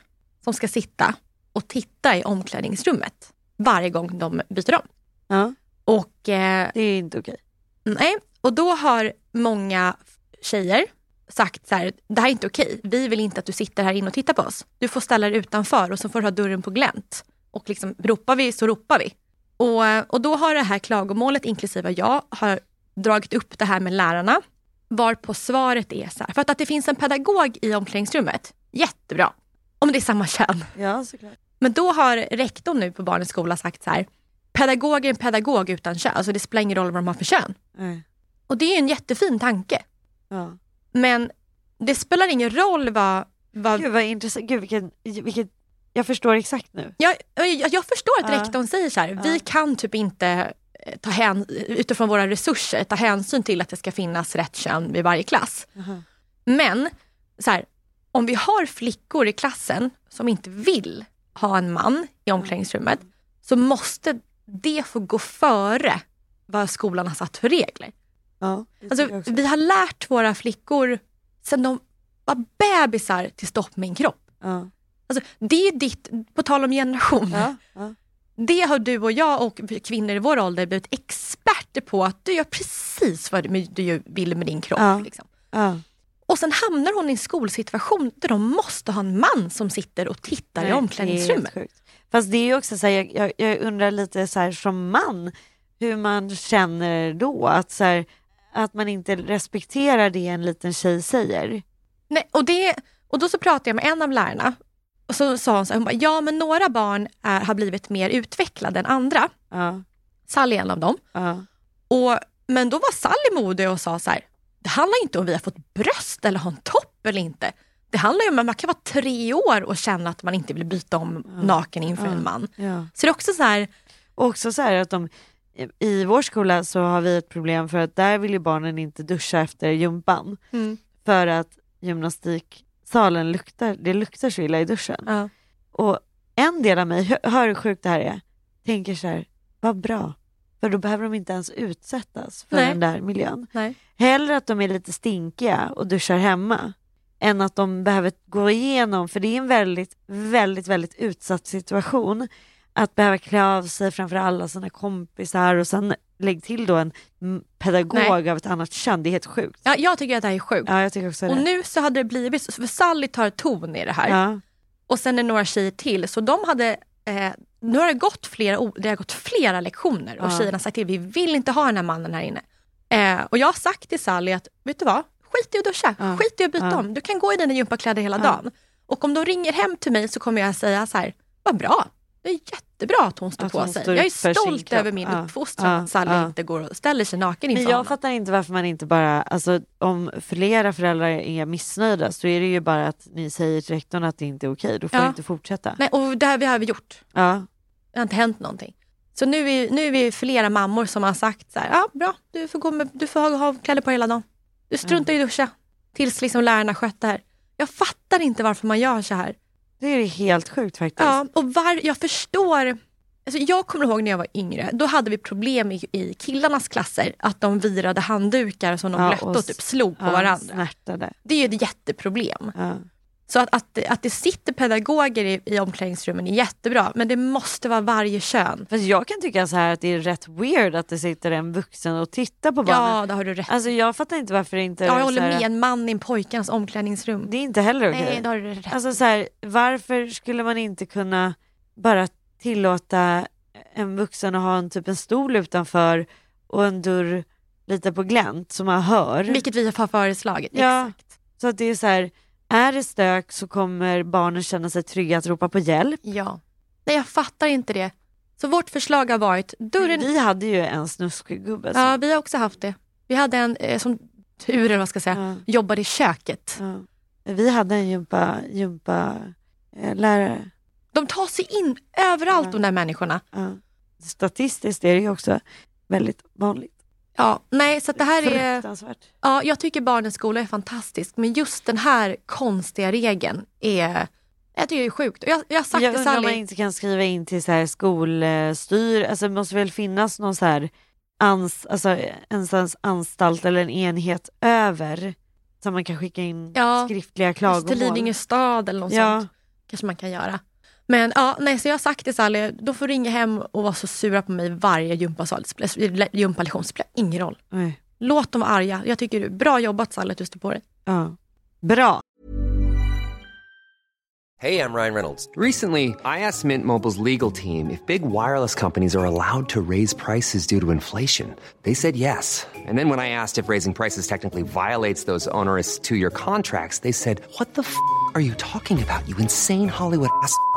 S1: som ska sitta och titta i omklädningsrummet varje gång de byter om.
S2: Ja.
S1: Och eh,
S2: Det är ju inte okej.
S1: Nej, och då har många tjejer sagt så här, det här är inte okej. Vi vill inte att du sitter här inne och tittar på oss. Du får ställa dig utanför och så får du ha dörren på glänt. Och liksom, ropar vi så ropar vi. Och, och då har det här klagomålet, inklusive jag, har dragit upp det här med lärarna. Varpå svaret är så här, för att, att det finns en pedagog i omklädningsrummet, jättebra. Om det är samma kön.
S2: Ja, såklart.
S1: Men då har rektorn nu på barnens skola sagt så här, pedagog är en pedagog utan kön, så det spelar ingen roll vad de har för kön.
S2: Nej.
S1: Och det är ju en jättefin tanke.
S2: Ja.
S1: Men det spelar ingen roll vad... vad
S2: Gud vad intressant, gud vilken, vilket, jag förstår exakt nu.
S1: jag, jag, jag förstår att
S2: Ja.
S1: rektorn säger så här,
S2: Ja.
S1: vi kan typ inte eh, ta hän, utifrån våra resurser ta hänsyn till att det ska finnas rätt kön vid varje klass.
S2: Aha.
S1: Men så här, om vi har flickor i klassen som inte vill ha en man i omklädningsrummet så måste det få gå före vad skolan har satt för regler.
S2: Ja, det tycker jag
S1: Alltså,
S2: också.
S1: vi har lärt våra flickor sen de var bebisar till stopp min kropp.
S2: ja,
S1: Alltså, det är ditt, på tal om generation,
S2: ja, ja.
S1: det har du och jag och vi kvinnor i vår ålder blivit experter på att du gör precis vad du- du vill med din kropp.
S2: Ja.
S1: Liksom.
S2: ja.
S1: Och sen hamnar hon i en skolsituation där de måste ha en man som sitter och tittar
S2: Nej,
S1: i
S2: det är
S1: omklädningsrummet.
S2: helt sjukt. Fast det är ju också så här, jag, jag, jag undrar lite så här som man, hur man känner då att, så här, att man inte respekterar det en liten tjej säger.
S1: Nej, och, det, och då så pratade jag med en av lärarna och så sa hon så här, hon bara, ja men några barn är, har blivit mer utvecklade än andra.
S2: Ja,
S1: Sally är en av dem.
S2: ja,
S1: Och, men då var Sally modig och sa så här, det handlar inte om vi har fått bröst eller har en topp eller inte. Det handlar ju om att man kan vara tre år och känna att man inte vill byta om naken inför en man.
S2: ja.
S1: Så det är också så här,
S2: Och också så här att de, i vår skola så har vi ett problem för att där vill ju barnen inte duscha efter gympan för att gymnastiksalen luktar, det luktar så illa i duschen.
S1: ja.
S2: Och en del av mig, hö- hör hur sjukt det här är, tänker så här, vad bra. För då behöver de inte ens utsättas för
S1: Nej.
S2: den där miljön.
S1: nej.
S2: Hellre att de är lite stinkiga och duschar hemma än att de behöver gå igenom, för det är en väldigt, väldigt, väldigt utsatt situation att behöva klä av sig framför alla sina kompisar och sen lägg till då en mm, pedagog av ett annat kön, det är helt sjukt.
S1: Ja, jag tycker att det här är sjukt.
S2: Ja, jag tycker också
S1: Och
S2: det.
S1: nu så hade det blivit, så- för Sally tar ton i det här
S2: Ja,
S1: och sen är det några tjejer till. Så de hade, eh, nu har det gått flera, o- det har gått flera lektioner och
S2: Ja.
S1: tjejerna har sagt till, vi vill inte ha den här mannen här inne. Eh, och jag har sagt till Sally att, vet du vad? Skit i att duscha,
S2: Ja.
S1: skit i att byta
S2: Ja.
S1: om. Du kan gå i dina gympakläder hela
S2: Ja.
S1: dagen. Och om de ringer hem till mig så kommer jag säga så här, vad bra. Det är jättebra att hon står
S2: Att
S1: på
S2: hon
S1: sig.
S2: står
S1: jag är
S2: upp för sin
S1: stolt
S2: kropp.
S1: över min
S2: Ja,
S1: uppfostran
S2: ja,
S1: att Sally
S2: ja.
S1: inte går och ställer sig naken
S2: Men
S1: inför
S2: jag
S1: honom.
S2: fattar inte varför man inte bara, alltså om flera föräldrar är missnöjda så är det ju bara att ni säger till rektorn att det inte är okej, då får
S1: Ja.
S2: du inte fortsätta.
S1: Nej, och det här vi har vi gjort.
S2: Ja.
S1: Det har inte hänt någonting. Så nu är, nu är vi flera mammor som har sagt så här, ja bra, du får, gå med, du får ha, ha kläder på hela dagen. Du struntar i duscha tills liksom lärarna skött det här. Jag fattar inte varför man gör så här.
S2: Det är ju helt sjukt faktiskt.
S1: Ja, och var, jag förstår. Alltså jag kommer ihåg när jag var yngre, då hade vi problem i, i killarnas klasser att de virade handdukar som de
S2: Ja,
S1: blötte
S2: och
S1: och, typ slog på
S2: Ja,
S1: varandra.
S2: Snärtade.
S1: Det är ju ett jätteproblem.
S2: Ja.
S1: Så att, att, att det sitter pedagoger i, i omklädningsrummen är jättebra, men det måste vara varje kön.
S2: Fast jag kan tycka så här att det är rätt weird att det sitter en vuxen och tittar på barnen.
S1: Ja, det har du rätt
S2: Alltså jag fattar inte varför det inte
S1: Ja,
S2: är
S1: jag
S2: så
S1: håller
S2: här,
S1: med. En man i en pojkans omklädningsrum.
S2: Det är inte heller okej.
S1: Nej, då har du rätt.
S2: Alltså så här, varför skulle man inte kunna bara tillåta en vuxen att ha en typ en stol utanför och en dörr lite på glänt som man hör?
S1: Mm. Vilket vi har föreslagit.
S2: Ja.
S1: Exakt.
S2: Så att det är så här, är det stök så kommer barnen känna sig trygga att ropa på hjälp.
S1: Ja. Nej, jag fattar inte det. Så vårt förslag har varit dörren...
S2: Vi hade ju en snuskgubbe. som-
S1: Ja, vi har också haft det. Vi hade en eh, som tur, eller vad man ska jag säga,
S2: Ja,
S1: jobbade i köket.
S2: ja. Vi hade en gympa, gympa eh, lärare.
S1: De tar sig in överallt
S2: Ja.
S1: de där människorna.
S2: Ja. Statistiskt är det ju också väldigt vanligt.
S1: Ja, nej, så att det här är...
S2: Fruktansvärt.
S1: Ja, jag tycker barnens skola är fantastisk, men just den här konstiga regeln är... Jag tycker det är sjukt. Och Jag, jag har sagt
S2: jag
S1: till
S2: undrar om man
S1: Sally...
S2: inte kan skriva in till så här skolstyr, alltså det måste väl finnas någon så här ans, alltså en sån anstalt eller en enhet över som man kan skicka in
S1: Ja,
S2: skriftliga
S1: Just till
S2: klagomål.
S1: Lidingö stad eller något
S2: Ja.
S1: sånt. Kanske man kan göra. Men ja, nej, så jag har sagt till Sally, de får ringa hem och vara så sura på mig varje gympasal. Det spelar- gympalektion, det spelar ingen roll.
S2: Oj,
S1: Låt dem vara arga. Jag tycker du, bra jobbat Sally att du står på det.
S2: ja. Bra.
S3: Hey, I'm Ryan Reynolds. Recently, I asked Mint Mobile's legal team if big wireless companies are allowed to raise prices due to inflation. They said yes. And then when I asked if raising prices technically violates those onerous two year contracts, they said, What the f are you talking about, you insane Hollywood ass? f- a-"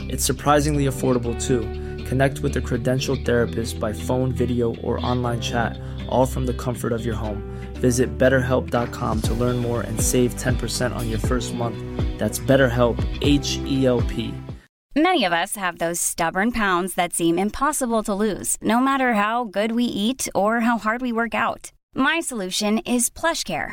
S4: It's surprisingly affordable too. Connect with a credentialed therapist by phone, video, or online chat, all from the comfort of your home. Visit betterhelp.com to learn more and save 10% on your first month. That's BetterHelp, H E L P.
S5: Many of us have those stubborn pounds that seem impossible to lose, no matter how good we eat or how hard we work out. My solution is PlushCare.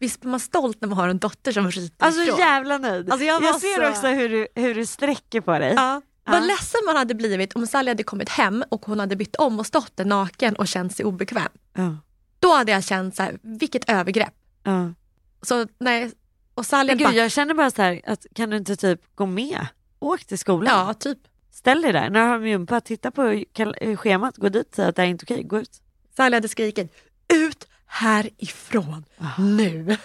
S1: Visst blir man stolt när man har en dotter som ritar
S2: Alltså
S1: ifrån?
S2: jävla nöjd.
S1: Alltså, jag var
S2: ser
S1: så-
S2: också hur du, hur du sträcker på dig.
S1: Ja. Vad
S2: Ja.
S1: ledsen man hade blivit om Sally hade kommit hem och hon hade bytt om och stått där naken och känt sig obekväm.
S2: Ja,
S1: Då hade jag känt så här, vilket övergrepp.
S2: ja.
S1: Så nej, och Sally
S2: Men
S1: bara,
S2: gud, jag känner bara så här, att kan du inte typ gå med? Åk till skolan.
S1: ja typ.
S2: Ställ dig där. När har de gympa? Titta på kal- schemat. Gå dit. Säg att det här är inte okej. Gå ut.
S1: Sally hade skrikit, ut härifrån nu.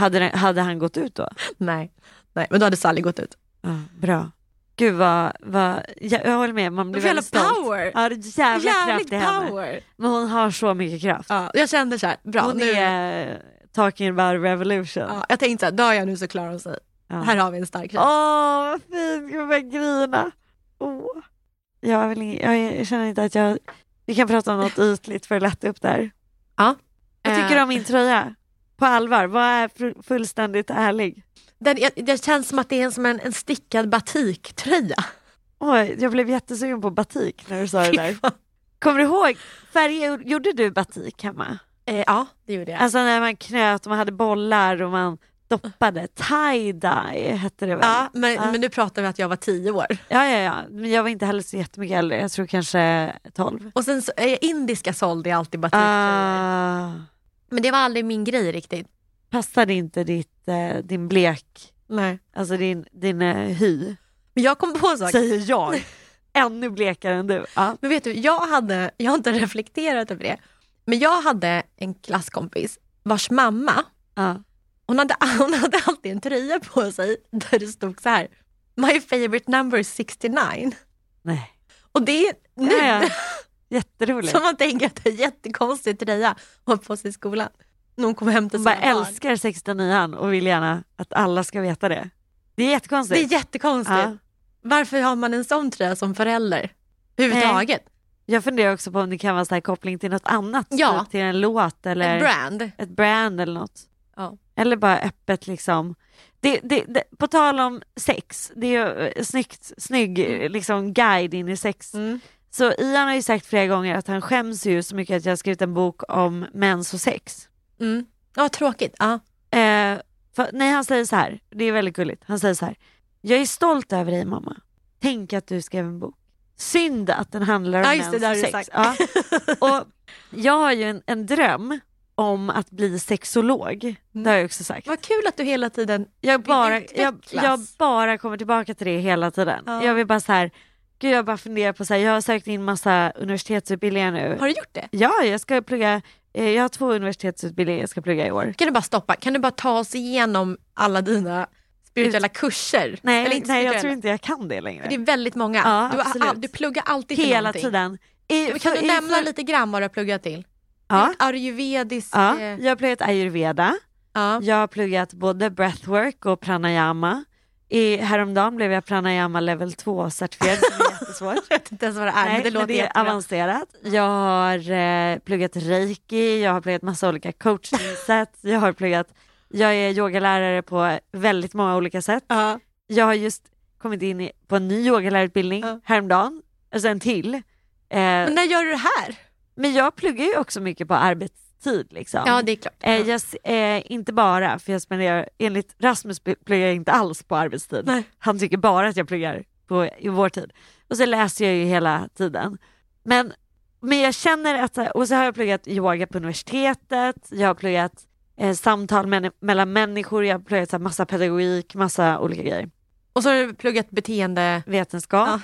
S2: Hade, den- hade han gått ut då?
S1: Nej. nej, men då hade Sally gått ut.
S2: Ja, bra. Gud vad, vad jag, jag håller med, man blir
S1: Jävla
S2: väldigt stolt.
S1: power.
S2: Ja, det är jävla kraft i henne.
S1: power.
S2: Men hon har så mycket kraft.
S1: Ja, jag kände så här, bra
S2: hon
S1: nu.
S2: är eh, talking about revolution. Åh,
S1: Ja, jag tänkte så här, dör jag nu så klarar hon sig.
S2: Ja.
S1: Här har vi en stark tjej.
S2: vad fint, gud vad jag grina. Åh. Jag, vill, ing- jag, jag känner inte att jag... Vi kan prata om något ytligt för att lätta upp där.
S1: Ja. Eh.
S2: Vad tycker du om min tröja? På allvar, vad är fru- fullständigt ärlig?
S1: Den, jag- det känns som att det är en, som en, en stickad batiktröja.
S2: Oj, jag blev
S1: Typ.
S2: jättesugen på batik när du sa det där. Kommer du ihåg, färg, gjorde du batik hemma?
S1: Eh, ja, det gjorde jag.
S2: Alltså när man knöt och man hade bollar och man doppade. Tie-dye hette det väl?
S1: ja, men,
S2: ja.
S1: men nu pratar vi att jag var tio år.
S2: ja, ja, ja. Men jag var inte heller så jättemycket äldre. Jag tror kanske 12.
S1: Och sen så, eh, indiska sålde jag alltid batiktjejer.
S2: Ah,
S1: Men det var aldrig min grej riktigt.
S2: passade inte ditt, eh, din blek,
S1: Nej.
S2: alltså din, din eh, hy,
S1: Men jag kom på en sak.
S2: säger jag. Ännu blekare än du. Ja.
S1: Men vet du, jag hade, jag har inte reflekterat över det, men jag hade en klasskompis vars mamma,
S2: Ja.
S1: hon hade, hon hade alltid en tröja på sig där det stod så här, My favorite number is 69.
S2: Nej.
S1: Och det är nu
S2: Ja, ja. Jätteroligt.
S1: som man tänker att det är en jättekonstig tröja att ha på sig i skolan. När hon kom hem till
S2: Hon
S1: sina
S2: bara
S1: barn.
S2: älskar 69 och vill gärna att alla ska veta det. Det är
S1: Det
S2: jättekonstigt.
S1: är jättekonstigt.
S2: Ja.
S1: Varför har man en sån tröja som förälder? Överhuvudtaget.
S2: Jag funderar också på om det kan vara så här koppling till något annat,
S1: Ja.
S2: typ till en låt eller
S1: Ett brand.
S2: ett brand eller något.
S1: Ja.
S2: Eller bara öppet liksom. Det, det, det, på tal om sex, det är ju eh, snyggt, snygg eh, liksom guide in i sex.
S1: Mm.
S2: Så Ian har ju sagt flera gånger att han skäms ju så mycket att jag har skrivit en bok om mens och sex.
S1: Mm. Ja, tråkigt. Ja.
S2: Eh, för, nej, han säger så här. Det är väldigt gulligt. Han säger så här. Jag är stolt över dig mamma. Tänk att du skrev en bok. Synd att den handlar om
S1: Ja, just det,
S2: mens
S1: det har
S2: och
S1: du
S2: sex.
S1: sagt.
S2: Ja. Och jag har ju en, en dröm om att bli sexolog. Det har jag också sagt.
S1: Vad kul att du hela tiden
S2: Jag
S1: vill
S2: bara, jag,
S1: utvecklas.
S2: jag bara kommer tillbaka till det hela tiden.
S1: Ja.
S2: Jag vill bara så här. Gud, jag bara funderar på så här. Jag har sökt in massa universitetsutbildningar nu.
S1: Har du gjort det?
S2: Ja, jag ska plugga. Eh, jag har två universitetsutbildningar jag ska plugga i år.
S1: Kan du bara stoppa? Kan du bara ta oss igenom alla dina spirituella kurser?
S2: Mm. Nej,
S1: Eller inte
S2: nej jag tror
S1: spirituella.
S2: inte jag kan det längre.
S1: Det är väldigt många.
S2: Ja,
S1: du, har,
S2: absolut.
S1: all- du pluggar alltid till
S2: Hela
S1: någonting.
S2: tiden. I-
S1: Men Kan
S2: för-
S1: du
S2: i-
S1: nämna
S2: för-
S1: lite grann vad du har pluggat till?
S2: Ja.
S1: Ayurvedisk...
S2: Ja,
S1: eh,
S2: jag har pluggat ayurveda,
S1: ja.
S2: jag har pluggat både breathwork och pranayama. I, häromdagen blev jag pranayama level 2 certifierad, det är jättesvårt.
S1: Jag vet inte ens vad det är, men det låter
S2: är
S1: jättebra.
S2: avancerat. Jag har eh, pluggat reiki, jag har pluggat massa olika coachningssätt, jag har pluggat, jag är yogalärare på väldigt många olika sätt.
S1: Ja.
S2: jag har just kommit in i, på en ny yogalärarutbildning
S1: Ja.
S2: häromdagen, alltså en till. Eh,
S1: Men
S2: men,
S1: när gör du det här?
S2: jag pluggar ju också mycket på arbetstid. Liksom.
S1: Ja, det är klart.
S2: eh, jag, s- eh, inte bara, för jag spenderar, enligt Rasmus pl- pluggar jag inte alls på arbetstid.
S1: Nej.
S2: Han tycker bara att jag pluggar på, i vår tid. Och så läser jag ju hela tiden. Men, men jag känner att, och så har jag pluggat yoga på universitetet, jag har pluggat eh, samtal men- mellan människor, jag har pluggat så här, massa pedagogik, massa olika grejer
S1: Och så har du pluggat beteende...
S2: vetenskap.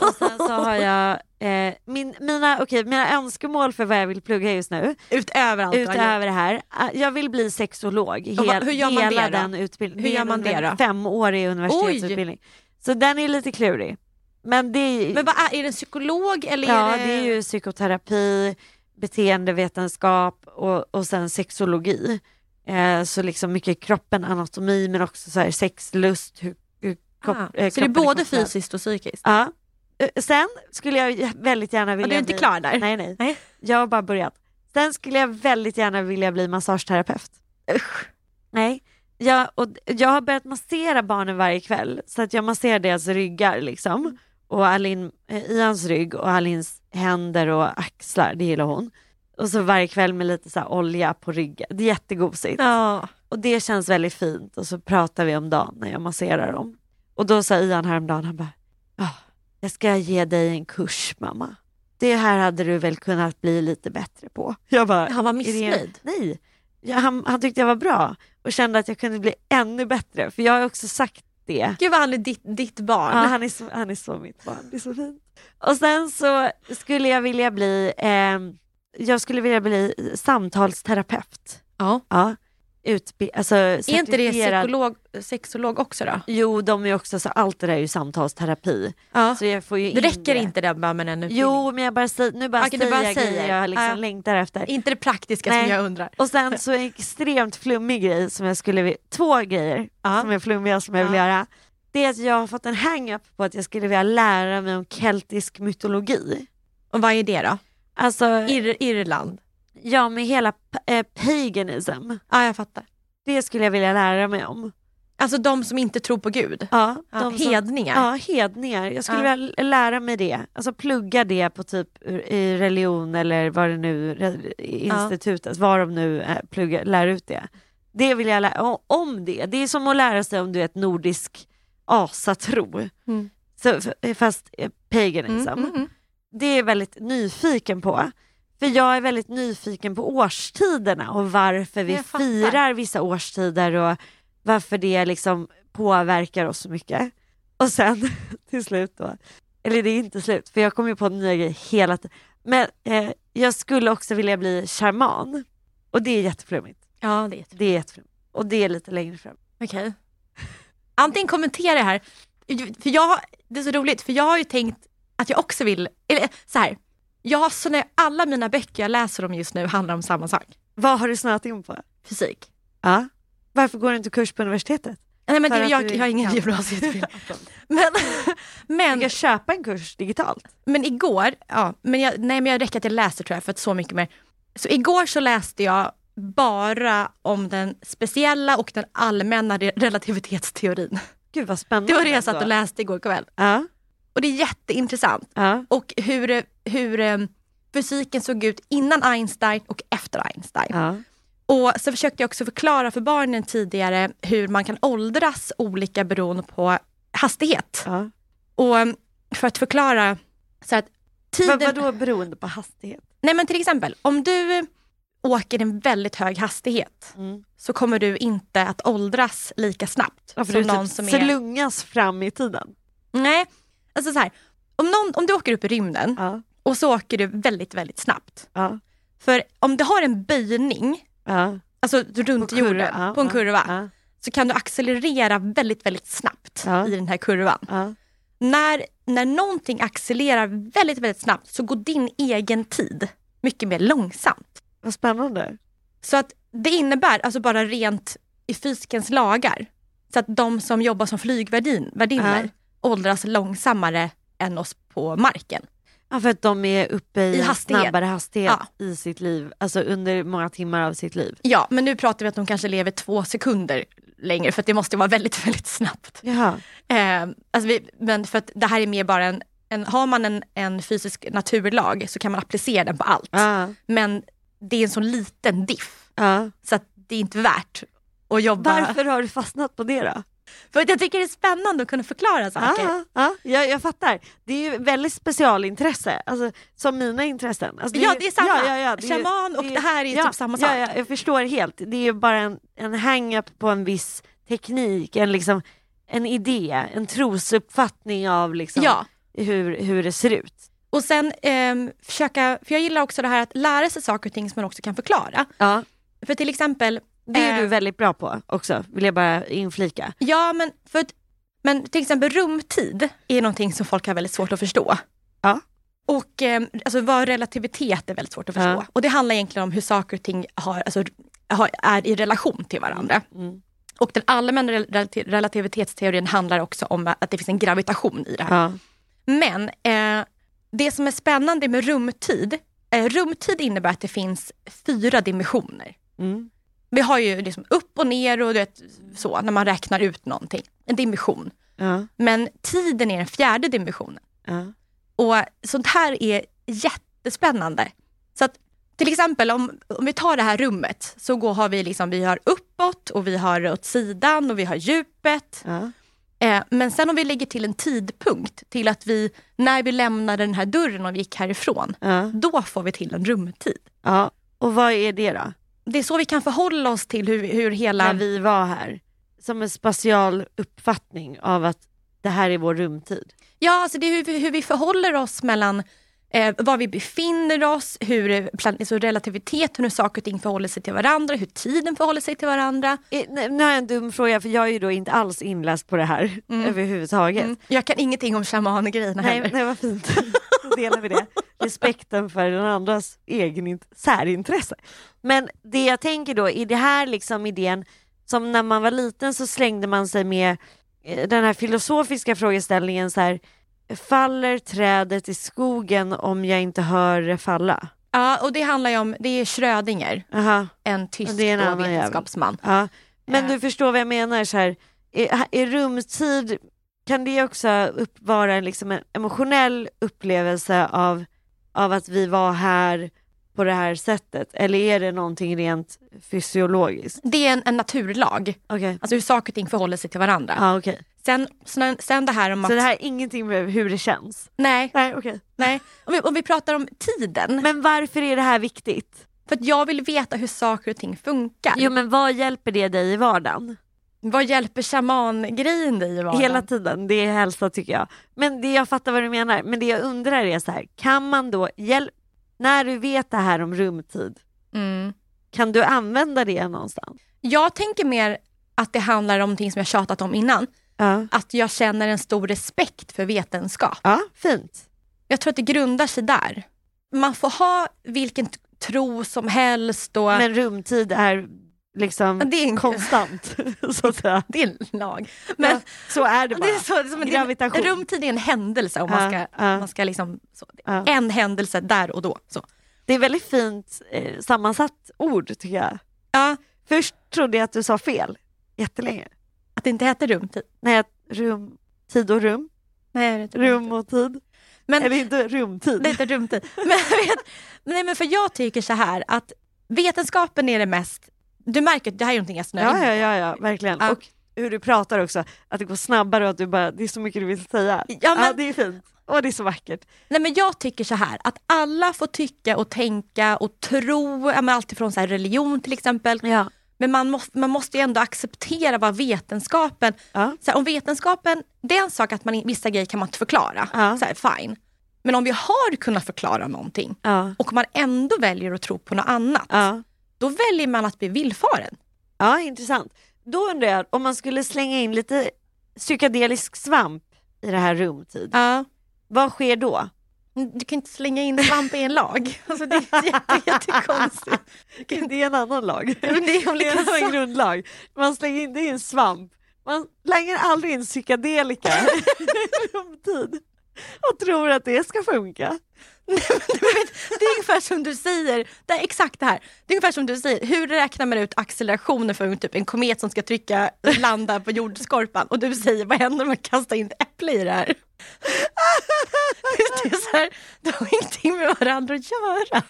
S2: Och sen så har jag eh, min, mina, okay, mina önskemål för vad jag vill plugga just nu
S1: Utöver allt du har gjort.
S2: utöver det här. eh, Jag vill bli sexolog.
S1: Och va-
S2: Hel,
S1: hur gör man
S2: hela
S1: det då?
S2: den utbildningen.
S1: Hur
S2: är
S1: gör man det
S2: en
S1: då?
S2: Femårig universitetsutbildning. Så den är lite klurig. Men det är,
S1: Men vad är, är det en psykolog eller
S2: ja,
S1: är det...
S2: det är ju psykoterapi, beteendevetenskap och, och sen sexologi. Eh, så liksom mycket kroppen, anatomi men också så här sexlust. Hur, hur kropp,
S1: Ah,
S2: eh,
S1: Så det är
S2: kroppen
S1: både
S2: kopplad.
S1: fysiskt och psykiskt?
S2: Ja. Eh, Sen skulle jag j- väldigt gärna vilja
S1: Och du är inte
S2: bli...
S1: klar där?
S2: Nej, nej.
S1: Nej.
S2: Jag har bara börjat. Sen skulle jag väldigt gärna vilja bli massageterapeut. Usch. Nej. Jag, och d- jag har börjat massera barnen varje kväll så att jag masserar deras ryggar liksom. Och Alin, eh, Ians rygg och Alins händer och axlar, det gillar hon. Och så varje kväll med lite så här olja på ryggen. Det är jättegosigt.
S1: Ja.
S2: Och det känns väldigt fint och så pratar vi om dagen när jag masserar dem. Och då sa Ian häromdagen, han bara, ja, jag ska ge dig en kurs mamma. Det här hade du väl kunnat bli lite bättre på. Jag bara,
S1: Han var
S2: "Är det-
S1: missnöjd.
S2: Nej, jag, han, han tyckte jag var bra och kände att jag kunde bli ännu bättre. För jag har också sagt det.
S1: Gud vad han är ditt, ditt barn.
S2: Ja, han, är så, han är så mitt barn, det är så fint. Och sen så skulle jag vilja bli, ehm, jag skulle vilja bli samtalsterapeut.
S1: Ja.
S2: Ja. Utbi- alltså,
S1: Är inte det psykolog, sexolog också då?
S2: Jo, de är också, så allt det där är ju samtalsterapi.
S1: Ja.
S2: Så jag får ju
S1: Det
S2: in
S1: räcker inte det bara med en utbildning?
S2: Jo, men jag bara säger, nu bara
S1: Okej, du
S2: säger
S1: bara
S2: jag
S1: säger.
S2: grejer jag liksom
S1: Ja.
S2: längtar efter.
S1: Inte det praktiska
S2: Nej.
S1: som jag undrar.
S2: Och sen så en extremt flummig grej som jag skulle vilja, två grejer
S1: Ja.
S2: som är flummiga som jag vill
S1: Ja.
S2: göra. Det är att jag har fått en hang-up på att jag skulle vilja lära mig om keltisk mytologi.
S1: Och vad är det då?
S2: Alltså,
S1: Ir, Irland?
S2: ja med hela p- eh, paganism.
S1: Ja, jag fattar.
S2: Det skulle jag vilja lära mig om.
S1: Alltså de som inte tror på Gud.
S2: Ja,
S1: Ja,
S2: de som-
S1: hedningar.
S2: Ja, hedningar. Jag skulle
S1: Ja.
S2: vilja lära mig det. Alltså plugga det på typ i religion eller vad det nu, re- institutet, var de nu eh, pluggar, lär ut det. Det vill jag lära o- om det. Det är som att lära sig om du vet nordisk asatro.
S1: Mm.
S2: Så, f- fast eh, paganism. Det är jag väldigt nyfiken på. För jag är väldigt nyfiken på årstiderna och varför vi
S1: Jag fattar.
S2: firar vissa årstider och varför det liksom påverkar oss så mycket. Och sen till slut då, eller det är inte slut för jag kommer ju på nya grejer hela tiden. Men eh, jag skulle också vilja bli shaman och det är jätteflummigt.
S1: Ja, det är jättebra.
S2: Det är jätteflummigt. Och det är lite längre fram.
S1: Okej. Antingen kommentera det här. För jag, det är så roligt, för jag har ju tänkt att jag också vill, eller eh, så här. Jag har, så när alla mina böcker jag läser om just nu handlar om samma sak.
S2: Vad har du snöat in på?
S1: Fysik.
S2: Ja. Varför går du inte kurs på universitetet?
S1: Nej men
S2: För
S1: det,
S2: att
S1: jag,
S2: du
S1: jag har ingen
S2: kan.
S1: gymnasieutbildning. Men,
S2: Du
S1: men,
S2: kan köpa en kurs digitalt.
S1: men igår, ja, men jag, nej men jag räcker att jag läser tror jag för att så mycket mer. Så igår så läste jag bara om den speciella och den allmänna re-
S2: Mm,
S1: relativitetsteorin.
S2: Gud vad spännande.
S1: Det var det jag
S2: ändå.
S1: satt och läste igår kväll.
S2: Ja,
S1: Och det är jätteintressant.
S2: ja.
S1: Och hur, eh, hur eh, fysiken såg ut innan Einstein och efter Einstein.
S2: ja.
S1: Och så försökte jag också förklara för barnen tidigare hur man kan åldras olika beroende på hastighet.
S2: ja.
S1: Och um, för att förklara så att tiden...
S2: Vad, vadå beroende på hastighet?
S1: Nej men till exempel, om du åker en väldigt hög hastighet
S2: Mm.
S1: så kommer du inte att åldras lika snabbt
S2: Ja, för
S1: som
S2: du
S1: någon
S2: typ
S1: som är...
S2: slungas fram i tiden.
S1: Nej, alltså så här. Om, någon, om du åker upp i rymden
S2: Ja,
S1: och så åker du väldigt, väldigt snabbt.
S2: ja,
S1: För om du har en böjning,
S2: ja.
S1: alltså runt
S2: På
S1: jorden,
S2: kurva, ja,
S1: på en
S2: ja,
S1: kurva,
S2: ja.
S1: så kan du accelerera väldigt, väldigt snabbt
S2: Ja.
S1: i den här kurvan.
S2: Ja.
S1: när, när någonting accelererar väldigt, väldigt snabbt så går din egen tid mycket mer långsamt.
S2: Vad spännande.
S1: Så att det innebär, alltså bara rent i fysikens lagar, så att de som jobbar som flygvärdinnor
S2: Ja.
S1: åldras långsammare än oss på marken.
S2: Ja, för att de är uppe i,
S1: I
S2: en
S1: hastighet.
S2: snabbare hastighet
S1: Ja.
S2: i sitt liv, alltså under många timmar av sitt liv.
S1: Ja, men nu pratar vi att de kanske lever två sekunder längre för att det måste vara väldigt, väldigt snabbt.
S2: Jaha.
S1: Eh, alltså vi, men för att det här är mer bara en, en har man en, en fysisk naturlag så kan man applicera den på allt.
S2: Ja.
S1: Men det är en sån liten diff
S2: Ja.
S1: så att det är inte värt att jobba.
S2: Varför har du fastnat på det då?
S1: För att jag tycker det är spännande att kunna förklara saker.
S2: Ja, ja, jag, jag fattar. Det är ju väldigt specialintresse, alltså, som mina intressen. Alltså,
S1: Ja,
S2: ju-
S1: det är samma.
S2: det är-
S1: Shaman och
S2: är-
S1: det här är ju typ samma
S2: Ja,
S1: sak.
S2: ja, jag förstår helt. Det är ju bara en, en hang-up på en viss teknik, en, liksom, en idé, en trosuppfattning av liksom,
S1: Ja.
S2: hur, hur det ser ut.
S1: Och sen ehm, försöka, för jag gillar också det här att lära sig saker och ting som man också kan förklara.
S2: Ja.
S1: För till exempel,
S2: Det är
S1: eh,
S2: du väldigt bra på också, vill jag bara inflika.
S1: ja men för att, men till exempel rumtid är någonting som folk har väldigt svårt att förstå.
S2: Ja.
S1: Och ehm, alltså vad relativitet är väldigt svårt att förstå.
S2: Ja.
S1: Och det handlar egentligen om hur saker och ting har, alltså, har, är i relation till varandra.
S2: Mm.
S1: Och den allmänna rel- relati- relativitetsteorin handlar också om att det finns en gravitation i det här.
S2: Ja.
S1: Men eh, det som är spännande med rumtid, eh, rumtid innebär att det finns fyra dimensioner.
S2: Mm.
S1: Vi har ju liksom upp och ner och du vet, så, när man räknar ut någonting, en dimension.
S2: Ja.
S1: Men tiden är den fjärde dimensionen.
S2: Ja.
S1: Och sånt här är jättespännande. Så att till exempel om, om vi tar det här rummet så går, har vi, liksom, vi har uppåt och vi har åt sidan och vi har djupet.
S2: Ja.
S1: Eh, men sen om vi lägger till en tidpunkt till att vi, när vi lämnade den här dörren och vi gick härifrån,
S2: Ja.
S1: då får vi till en rumtid.
S2: ja. Och vad är det då?
S1: Det är så vi kan förhålla oss till hur, hur hela...
S2: när vi var här. Som en spatial uppfattning av att det här är vår rumtid.
S1: Ja, alltså det är hur, vi- hur vi förhåller oss mellan eh, var vi befinner oss, hur eh, plan- alltså relativitet, hur saker och ting förhåller sig till varandra, hur tiden förhåller sig till varandra.
S2: Eh, nej, Nu har jag en dum fråga för jag är ju då inte alls inläst på det här överhuvudtaget.
S1: Mm. Jag kan ingenting om shaman-grejerna
S2: Nej,
S1: heller.
S2: nej vad fint, då delar vi det. Respekten för den andras egen int- särintresse. Men det jag tänker då, är det här liksom idén som när man var liten så slängde man sig med eh, den här filosofiska frågeställningen så här, faller trädet i skogen om jag inte hör det falla?
S1: Ja, och det handlar ju om, det är Schrödinger,
S2: Aha.
S1: en tysk
S2: Det är en
S1: och
S2: annan jävel.
S1: vetenskapsman.
S2: Ja. Men
S1: Eh.
S2: du förstår vad jag menar, så här, i, i rumstid kan det också upp, vara en, liksom en emotionell upplevelse av, av att vi var här på det här sättet? Eller är det någonting rent fysiologiskt?
S1: Det är en, en naturlag.
S2: Okej.
S1: Alltså hur saker och ting förhåller sig till varandra.
S2: Ja, okej.
S1: Sen, sen, sen det här om att...
S2: Så det här är ingenting med hur det känns?
S1: Nej,
S2: Nej, okej.
S1: nej. Om vi, om vi pratar om tiden.
S2: Men varför är det här viktigt?
S1: För att jag vill veta hur saker och ting funkar.
S2: Jo men vad hjälper det dig i vardagen?
S1: Vad hjälper shamangrejen dig i vardagen?
S2: Hela tiden, det är hälsa tycker jag. Men det jag fattar vad du menar, men det jag undrar är så här, kan man då, hjäl- när du vet det här om rumtid,
S1: Mm.
S2: kan du använda det någonstans?
S1: Jag tänker mer att det handlar om någonting som jag tjatat om innan.
S2: Ja.
S1: Att jag känner en stor respekt för vetenskap.
S2: Ja, fint.
S1: Jag tror att det grundar sig där. Man får ha vilken t- tro som helst och
S2: Men rumtid är liksom
S1: Ja, det är en-
S2: konstant, så att säga.
S1: det är en lag. Men
S2: Ja, så är det bara.
S1: det är så, som det är
S2: Gravitation.
S1: en, rumtid är en händelse om
S2: Ja,
S1: man ska,
S2: ja.
S1: man ska liksom, så,
S2: Ja.
S1: en händelse där och då. Så.
S2: Det är väldigt fint eh, sammansatt ord tycker jag.
S1: Ja,
S2: Först trodde jag att du sa fel jättelänge.
S1: att det inte heter rumtid.
S2: Nej, att rum, tid och rum,
S1: Nej, det heter rumtid.
S2: rum och tid.
S1: Men,
S2: Eller inte rumtid.
S1: Det är inte rumtid. Men, jag vet, men, nej, men för jag tycker så här att vetenskapen är det mest... Du märker att det här är någonting jag snöar
S2: Ja,
S1: in
S2: ja, ja, ja verkligen.
S1: Ja.
S2: Och hur du pratar också, att det går snabbare och att du bara, det är så mycket du vill säga.
S1: Ja, men-
S2: det är fint. Och det är så vackert.
S1: Nej, men jag tycker så här att alla får tycka och tänka och tro, ja, men alltifrån så här religion till exempel.
S2: Ja.
S1: Men man måste, man måste ju ändå acceptera vad vetenskapen...
S2: Ja.
S1: Så här, om vetenskapen, det är en sak att man, in- vissa grejer kan man inte förklara,
S2: Ja.
S1: så här, fine. Men om vi har kunnat förklara någonting
S2: Ja.
S1: och man ändå väljer att tro på något annat,
S2: Ja.
S1: då väljer man att bli villfaren.
S2: ja, intressant. Då undrar jag, om man skulle slänga in lite psykedelisk svamp i det här rumtid,
S1: Ja.
S2: vad sker då?
S1: Du kan inte slänga in en svamp i en lag. Alltså det är jätte, jättekonstigt.
S2: Det är en annan lag.
S1: Ja, men det är
S2: Det
S1: olika
S2: är en
S1: saker.
S2: annan grundlag. Man slänger inte in svamp. Man slänger aldrig in psykedelika i rumtid och tror att det ska funka.
S1: Nej, men du vet, Det är ungefär som du säger, det är exakt det här. Det är ungefär som du säger, hur räknar man ut accelerationen för typ en komet som ska trycka, landa på jordskorpan? Och du säger, vad händer om man kastar in ett äpple i det här? Det är så här, de har ingenting med varandra att göra.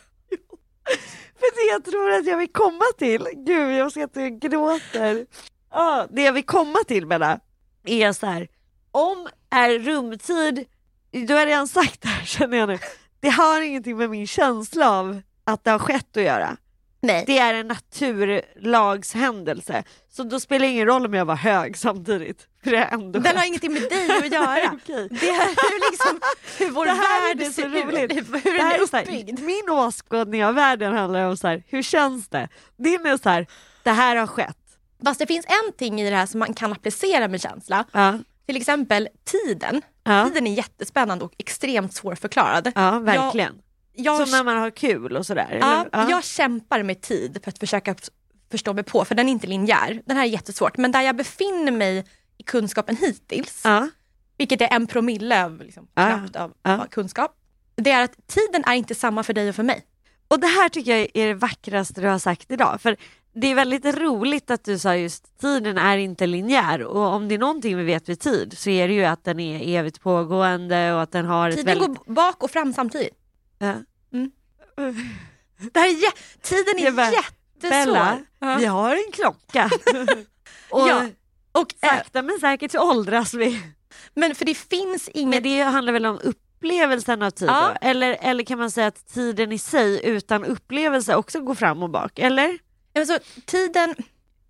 S2: För det jag tror att jag vill komma till, gud jag ser att du gråter. Ja, det jag vill komma till med det är så här, om är rumtid, du har redan sagt det här känner jag nu, det har ingenting med min känsla av att det har skett att göra.
S1: Nej.
S2: Det är en naturlagshändelse, så då spelar det ingen roll om jag var hög samtidigt. För det har ändå
S1: Den har
S2: skett.
S1: ingenting med dig att göra.
S2: Okej.
S1: Det är hur, liksom, hur vår
S2: Det här är
S1: värld
S2: det så
S1: ser ut,
S2: roligt.
S1: hur
S2: Det
S1: den
S2: här
S1: är
S2: är så här,
S1: uppbyggd.
S2: Min åskådning av världen handlar om så här, hur känns det? Din är så här, det här har skett.
S1: Fast det finns en ting i det här som man kan applicera med känsla.
S2: Ja.
S1: Till exempel tiden.
S2: Ja.
S1: Tiden är jättespännande och extremt svårförklarad.
S2: Ja, verkligen.
S1: Jag, jag,
S2: Som när man har kul och sådär.
S1: ja,
S2: eller? Ja.
S1: jag kämpar med tid för att försöka f- förstå mig på, för den är inte linjär. Den här är jättesvårt. Men där jag befinner mig i kunskapen hittills,
S2: Ja.
S1: vilket är en promille av, liksom,
S2: Ja.
S1: knappt av
S2: Ja.
S1: av kunskap, det är att tiden är inte samma för dig och för mig.
S2: Och det här tycker jag är det vackraste du har sagt idag. För det är väldigt roligt att du sa just tiden är inte linjär och om det är någonting vi vet vid tid så är det ju att den är evigt pågående och att den har ett
S1: Tiden
S2: väldigt...
S1: går bak och fram samtidigt.
S2: Ja.
S1: Det här är jä- tiden är
S2: Jag bara,
S1: jättesvår.
S2: Bella,
S1: Ja.
S2: vi har en klocka. och
S1: Ja. Och, eh,
S2: sakta men säkert så åldras vi.
S1: men för det finns
S2: Men
S1: inget...
S2: det handlar väl om upplevelsen av tid
S1: Ja.
S2: då? Eller, eller kan man säga att tiden i sig utan upplevelse också går fram och bak? Eller?
S1: Alltså, tiden...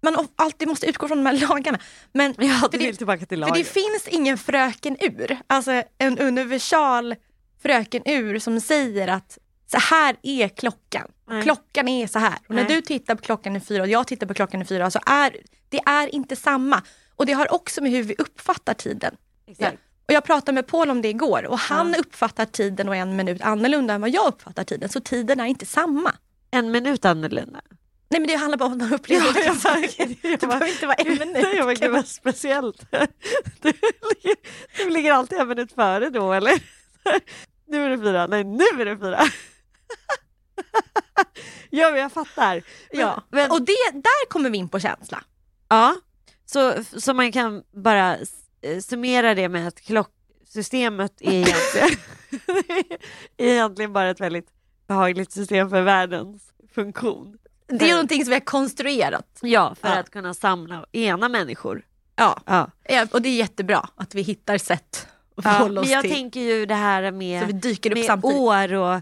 S1: Man of- alltid måste utgå från de här lagarna. Men
S2: Ja,
S1: för, det,
S2: tillbaka till
S1: för det finns ingen fröken ur. Alltså en universal fröken ur som säger att så här är klockan.
S2: Nej.
S1: Klockan är så här. Och när
S2: Nej.
S1: du tittar på klockan i fyra och jag tittar på klockan i fyra, så är, det är inte samma. Och det har också med hur vi uppfattar tiden.
S2: Exakt.
S1: Och jag pratade med Paul om det igår och han uppfattar tiden och en minut annorlunda än vad jag uppfattar tiden. Så tiden är inte samma.
S2: En minut annorlunda.
S1: Nej men det handlar bara om att man upplever olika saker. Det behöver inte vara en minut.
S2: Nej, men gud vad speciellt. Du ligger, du ligger alltid en minut före då eller? Nu är det fyra, nej nu är det fyra. Ja men jag fattar. Men,
S1: Ja.
S2: men,
S1: Och det, där kommer vi in på känsla.
S2: ja. Så, så man kan bara eh, summera det med att klocksystemet är egentligen, är egentligen bara ett väldigt behagligt system för världens funktion.
S1: Det är någonting som vi har konstruerat.
S2: Ja, för
S1: Ja.
S2: att kunna samla och ena människor.
S1: Ja.
S2: Ja.
S1: Ja, och det är jättebra att vi hittar sätt att
S2: Ja,
S1: förhålla
S2: men
S1: oss
S2: jag
S1: till.
S2: tänker ju det här
S1: så vi
S2: med,
S1: dyker upp
S2: med
S1: samtidigt.
S2: år och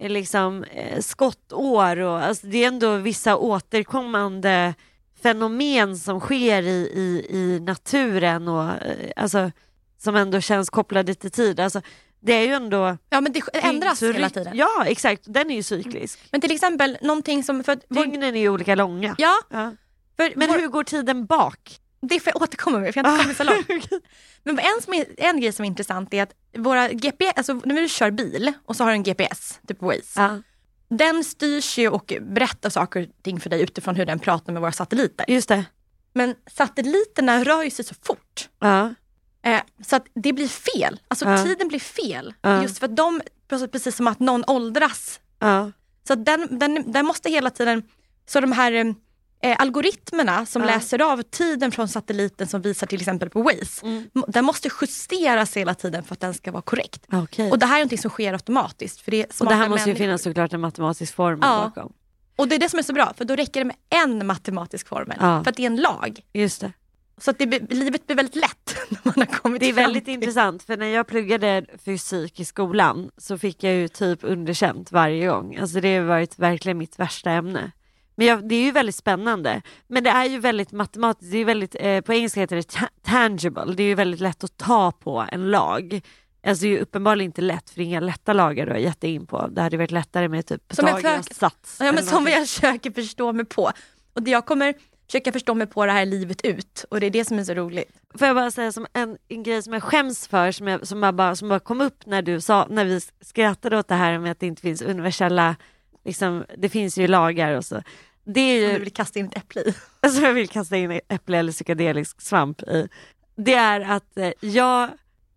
S2: eh, liksom, eh, skottår. Och, alltså, det är ändå vissa återkommande fenomen som sker i, i, i naturen och eh, alltså, som ändå känns kopplade till tid. Alltså, det är ju ändå...
S1: Ja, men det ändras hela tiden.
S2: Ja, exakt. Den är ju cyklisk.
S1: Men till exempel någonting som... För, att vår,
S2: Dygnen är ju olika långa.
S1: ja,
S2: Ja.
S1: för,
S2: Men
S1: vår,
S2: hur går tiden bak?
S1: det får jag återkomma med, för jag har inte kommit så långt.
S2: Okej.
S1: Men en, som är, en grej som är intressant är att våra GPS, alltså när du kör bil och så har du en GPS, typ Waze.
S2: ja,
S1: Den styrs ju och berättar saker och ting för dig utifrån hur den pratar med våra satelliter.
S2: just det.
S1: Men satelliterna rör ju sig så fort.
S2: Ja,
S1: Eh, så att det blir fel. Alltså
S2: Ja.
S1: tiden blir fel.
S2: Ja.
S1: Just för att de, precis- precis som att någon åldras.
S2: ja,
S1: Så att den, den, den måste hela tiden, så de här eh, algoritmerna som
S2: Ja.
S1: läser av tiden från satelliten som visar till exempel på Waze.
S2: Mm.
S1: m- Den måste justeras hela tiden för att den ska vara korrekt.
S2: okej.
S1: Och det här är någonting som sker automatiskt. För det, är
S2: Och det här
S1: smarta
S2: måste ju
S1: människor.
S2: finnas såklart en matematisk formel
S1: Ja.
S2: bakom.
S1: och det är det som är så bra, för då räcker det med en matematisk formel.
S2: Ja.
S1: För att det är en lag.
S2: Just det.
S1: Så att det, blir- livet blir väldigt lätt när man har kommit
S2: Det är
S1: fram
S2: väldigt
S1: till-
S2: intressant för när jag pluggade fysik i skolan så fick jag ju typ underkänt varje gång. Alltså det har varit verkligen mitt värsta ämne. Men jag, det är ju väldigt spännande. Men det är ju väldigt matematiskt, det är ju väldigt, eh, på engelska heter det ta- tangible, det är ju väldigt lätt att ta på en lag. Alltså det är ju uppenbarligen inte lätt för det är inga lätta lagar du har gett dig in på. Det hade ju varit lättare med typ
S1: Som jag
S2: Pythagoras
S1: försöker-
S2: sats.
S1: Ja, men
S2: eller
S1: som
S2: någonting.
S1: jag försöker förstå mig på. Och det jag kommer försöka förstå mig på det här livet ut. Och det är det som är så roligt.
S2: Får jag bara säga som en, en grej som jag skäms för som, jag, som, jag bara, som bara kom upp när du sa, när vi skrattade åt det här med att det inte finns universella, liksom, det finns ju lagar och så. Det är
S1: Om du
S2: ju,
S1: vill kasta in ett äpple i.
S2: alltså jag vill kasta in äpple eller psykedelisk svamp i. Det är att eh, jag,